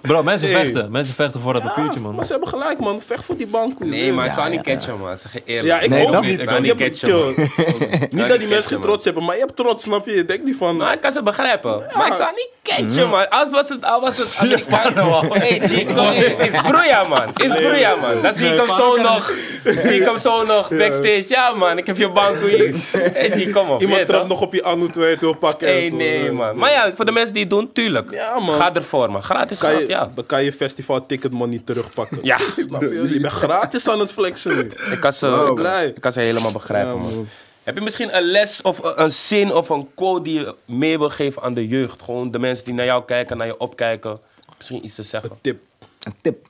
B: Bro, mensen
C: Hey.
B: vechten. Mensen vechten voor dat papiertje,
C: Maar
B: man.
C: ze hebben gelijk, man. Vecht voor die bank.
A: Nee, maar ik
D: Ja,
A: zou niet
D: ja,
A: catchen, man. Zeg je eerlijk.
C: Ja, ik
D: Nee,
C: ook
D: dat
C: niet.
D: niet.
A: Ik
C: Ik
A: kan niet catchen, man.
C: Niet dat
A: catchen,
C: die mensen geen
A: man.
C: trots hebben, maar je hebt trots, snap je? Je denkt niet van...
A: Maar ik kan ze begrijpen. Maar ik zou niet catchen, man. Als was het, al was het Amerikanen, man. Hey, G, kom, hey, is broeia, man. Is broeia, man. Dan zie ik hem zo nog. Zie ik hem zo nog backstage. Ja, man, ik heb je bank hier. Hey, G, kom op.
C: Iemand
A: weet
C: trapt
A: toch?
C: nog op je Anu 2 wil pakken. en
A: Hey,
C: zo.
A: nee, man. Maar ja, voor de mensen die het doen, tuurlijk.
C: Ja, man.
A: Ga ervoor, man. Gratis
C: Kan je,
A: geld, ja.
C: Dan kan je festival ticket money terugpakken.
A: Ja,
C: Snap je? Je bent gratis aan het flexen nu.
A: ik kan ze,
C: Wow.
A: ik kan- ik kan ze helemaal begrijpen,
C: Ja,
A: man.
C: man.
A: Heb je misschien een les of een een zin of een quote die je mee wil geven aan de jeugd? Gewoon de mensen die naar jou kijken, naar je opkijken. Misschien iets te zeggen.
C: Tip.
D: Een tip.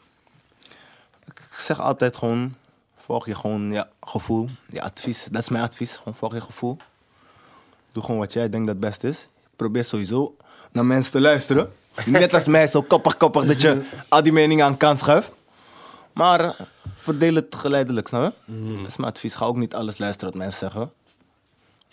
D: Ik zeg altijd gewoon, volg je gewoon je gevoel, je advies. Dat is mijn advies, gewoon volg je gevoel. Doe gewoon wat jij denkt dat het best is. Probeer sowieso naar mensen te luisteren. Net als mij, zo koppig, koppig, dat je al die meningen aan kant schuift. Maar eh, verdeel het geleidelijk, snap je? Dat is mijn advies. Ga ook niet alles luisteren wat mensen zeggen.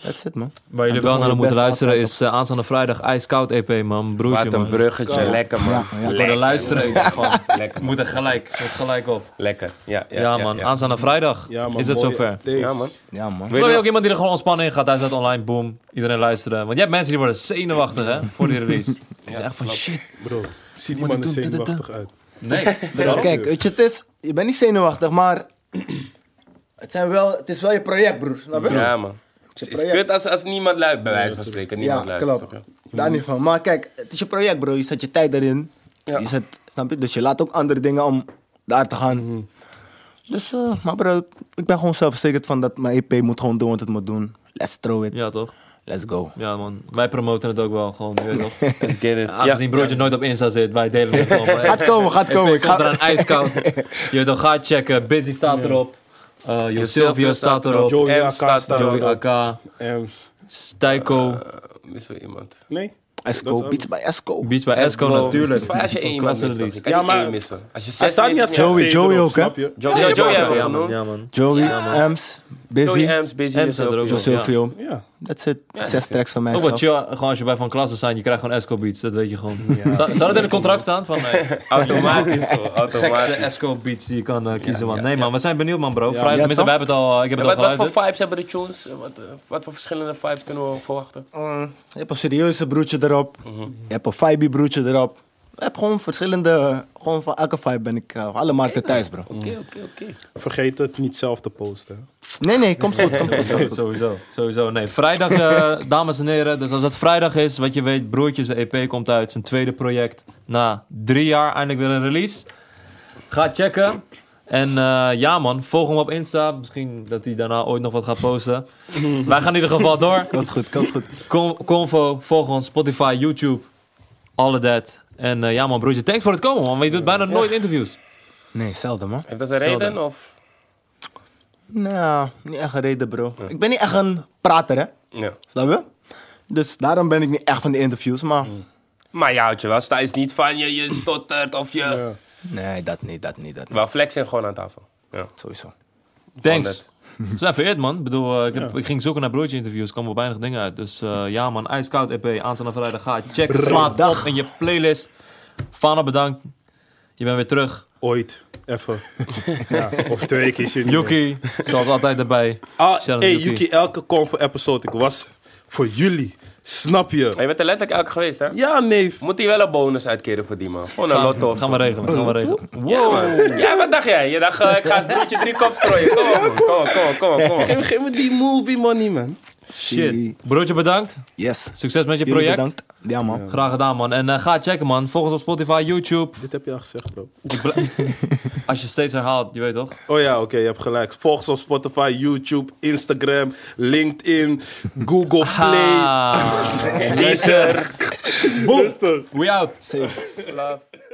D: That's it, man.
B: Waar jullie
D: En
B: wel
D: toch
B: naar
D: moet
B: moeten
D: je best
B: luisteren
D: altijd
B: is eh, aanstaande vrijdag IJskoud EP, man. Broertje,
A: Wat een
B: man.
A: bruggetje. Lekker, man.
D: Ja, ja.
B: Voor de
A: Lekker,
B: luisteren. gewoon.
A: Lekker,
B: We moeten gelijk, we moeten gelijk op.
A: lekker. Ja, ja,
B: Ja, man,
A: Ja,
B: aanstaande vrijdag
C: Ja, man,
B: is het
C: mooie
B: zover.
C: FT's.
A: Ja, man.
D: Ja, man.
A: Weet je
B: Ik wil ook
A: nog-
B: iemand die er gewoon ontspannen in gaat. Hij staat online, boom. Iedereen luisteren. Want je hebt mensen die worden zenuwachtig, hè, voor die release. Die is echt van shit.
C: Bro, zie die
B: Moet je
C: man er
B: doen, dit, dit,
C: zenuwachtig uit.
B: Nee.
D: Bro, kijk, weet je, het is, je bent niet zenuwachtig, maar het, zijn wel, het is wel je project, broer. Snap je?
A: Ja, man. Het is
D: project.
A: kut als, als niemand luistert, bij wijze van spreken. Niemand luistert.
D: klopt.
A: snap je?
D: Daar niet van. Maar kijk, het is je project, bro. Je zet je tijd erin.
A: Ja.
D: Je zet, snap je? Dus je laat ook andere dingen om daar te
B: Mhm.
D: gaan. Dus, eh, maar bro, ik ben gewoon zelfverzekerd van dat mijn EP moet gewoon doen wat het moet doen. Let's throw it.
B: Ja, toch?
D: Let's go.
B: Ja, man. Wij promoten het ook wel gewoon, je weet toch?
A: Let's get it.
B: Aangezien broodje nooit op Insta zit, wij delen het gewoon. Hey,
D: Gaat komen, gaat
B: hey,
D: komen. Ik
B: E Komt er
D: ga...
B: een ijskoud. Je weet toch, ga checken. Busy staat erop. Eh Yo Silvio staat erop.
C: Joey
A: M
C: AK
A: staat
C: staat
B: Joey
C: erop.
B: AK.
C: Ems.
B: Stijko.
A: Missen we iemand?
C: Ehm, Nee?
D: Esco, beats bij Esco.
B: Beats bij Esco natuurlijk.
A: Het is fijn als je één iemand mist.
B: release.
A: toch? Je kan
C: Ja,
A: niet
C: maar-
A: één missen. Als je zes
C: Hij staat niet
A: mist,
C: als
A: ja.
D: Joey,
C: FT erop,
D: Joey ook, hè?
C: snap je?
A: Joey, ja,
C: je
A: Joey
C: mag
A: hebben we
B: Ja, man.
A: genoemd.
B: Ja, man.
D: Joey, Ems,
A: Joey,
D: Busy,
A: Ems, Busy.
B: Ems
A: en
B: staat er ook
A: Sylvia.
B: nog.
D: Josilvio.
C: Ja.
D: That's it. Zes tracks van mij.
B: Ook wat chill, gewoon als je bij van klassen staat, je krijgt gewoon Esco Beats, dat weet je gewoon. Zou, zou dat in het contract staan? Van, eh,
A: Automatisch, toch?
B: gekste
A: Automatisch.
B: Esco Beats die je kan eh, kiezen, man. Nee, man, we zijn benieuwd, man, bro. Vrijdag,
D: Ja,
B: tenminste,
D: toch?
B: wij hebben het al, eh, ik heb
A: En
B: het
A: Wat,
B: al
A: wat voor
B: geluisterd.
A: vibes hebben de tunes? Wat, eh, wat voor verschillende vibes kunnen we verwachten?
D: Eh, je hebt een serieuze broertje erop. Je hebt een vibe broertje erop. Je hebt gewoon verschillende... Gewoon van elke vibe ben ik... eh, op alle markten thuis, bro.
A: Oké, oké, oké.
C: Vergeet het niet zelf te posten. hè.
D: Nee, nee, komt goed. Komt goed.
B: Sowieso, sowieso. Nee, vrijdag, eh, dames en heren. Dus als het vrijdag is, wat je weet, Broertjes, de EP komt uit. Zijn tweede project. Na drie jaar eindelijk weer een release. Ga checken. En eh, ja man, volg hem op Insta. Misschien dat hij daarna ooit nog wat gaat posten. Wij gaan in ieder geval door.
D: Komt goed, komt goed.
B: Con- Convo, volg ons, Spotify, YouTube, all of that. En eh, ja man, broertje, thanks voor het komen man, want je doet bijna nooit interviews.
D: Nee, zelden, man.
A: Heeft dat een
B: Zelden.
A: reden? Of?
D: Nou, niet echt een reden, bro. Ik ben niet echt een prater, hè.
A: Ja.
D: Snap je? Dus daarom ben ik niet echt van de interviews, maar...
A: Maar je houdt je wel is niet van je, je stottert of je...
D: Nee, dat niet, dat niet, dat niet.
A: Wel flexen gewoon aan tafel. Ja.
D: Sowieso.
B: Thanks. We zijn vereerd man. Ik bedoel, eh, ik, heb, ik ging zoeken naar broertje interviews, kwam op weinig dingen uit. Dus eh, ja man, ijskoud EP, aanstaande vrijdag. Ga checken, slaat op
D: Dag.
B: in je playlist. Fana bedankt, je bent weer terug.
C: Ooit. Even. ja, of twee keer. is je niet meer.
B: Yuki, zoals altijd erbij.
C: Ah,
B: Shout out
C: hey,
B: Yuki.
C: Yuki, elke convo-episode, ik was voor jullie. Snap je?
A: Je bent er letterlijk elke geweest, hè?
C: Ja, neef.
A: Moet hij wel een bonus uitkeren voor die man? Gewoon een lotto. of
B: Gaan we
A: zo.
B: regelen, gaan we regelen.
A: Ja, man. ja, wat dacht jij? Je dacht, eh, ik ga het broertje drie kop strooien. Kom op, man. kom op, kom op, kom op, kom op.
C: Geef, geef me die movie money, man.
B: Shit. Broertje bedankt,
D: Yes.
B: succes met je
D: Jullie
B: project.
D: bedankt. Ja, man.
B: Graag gedaan man. En eh, ga checken man, volg ons op Spotify, YouTube.
C: Dit heb je al gezegd, bro.
B: Ik bl- Als je steeds herhaalt, je weet toch?
C: Oh ja, oké, je hebt gelijk. Volg ons op Spotify, YouTube, Instagram, LinkedIn, Google Play.
B: Ah.
A: Deezer.
C: Boom.
B: We out.
A: Love.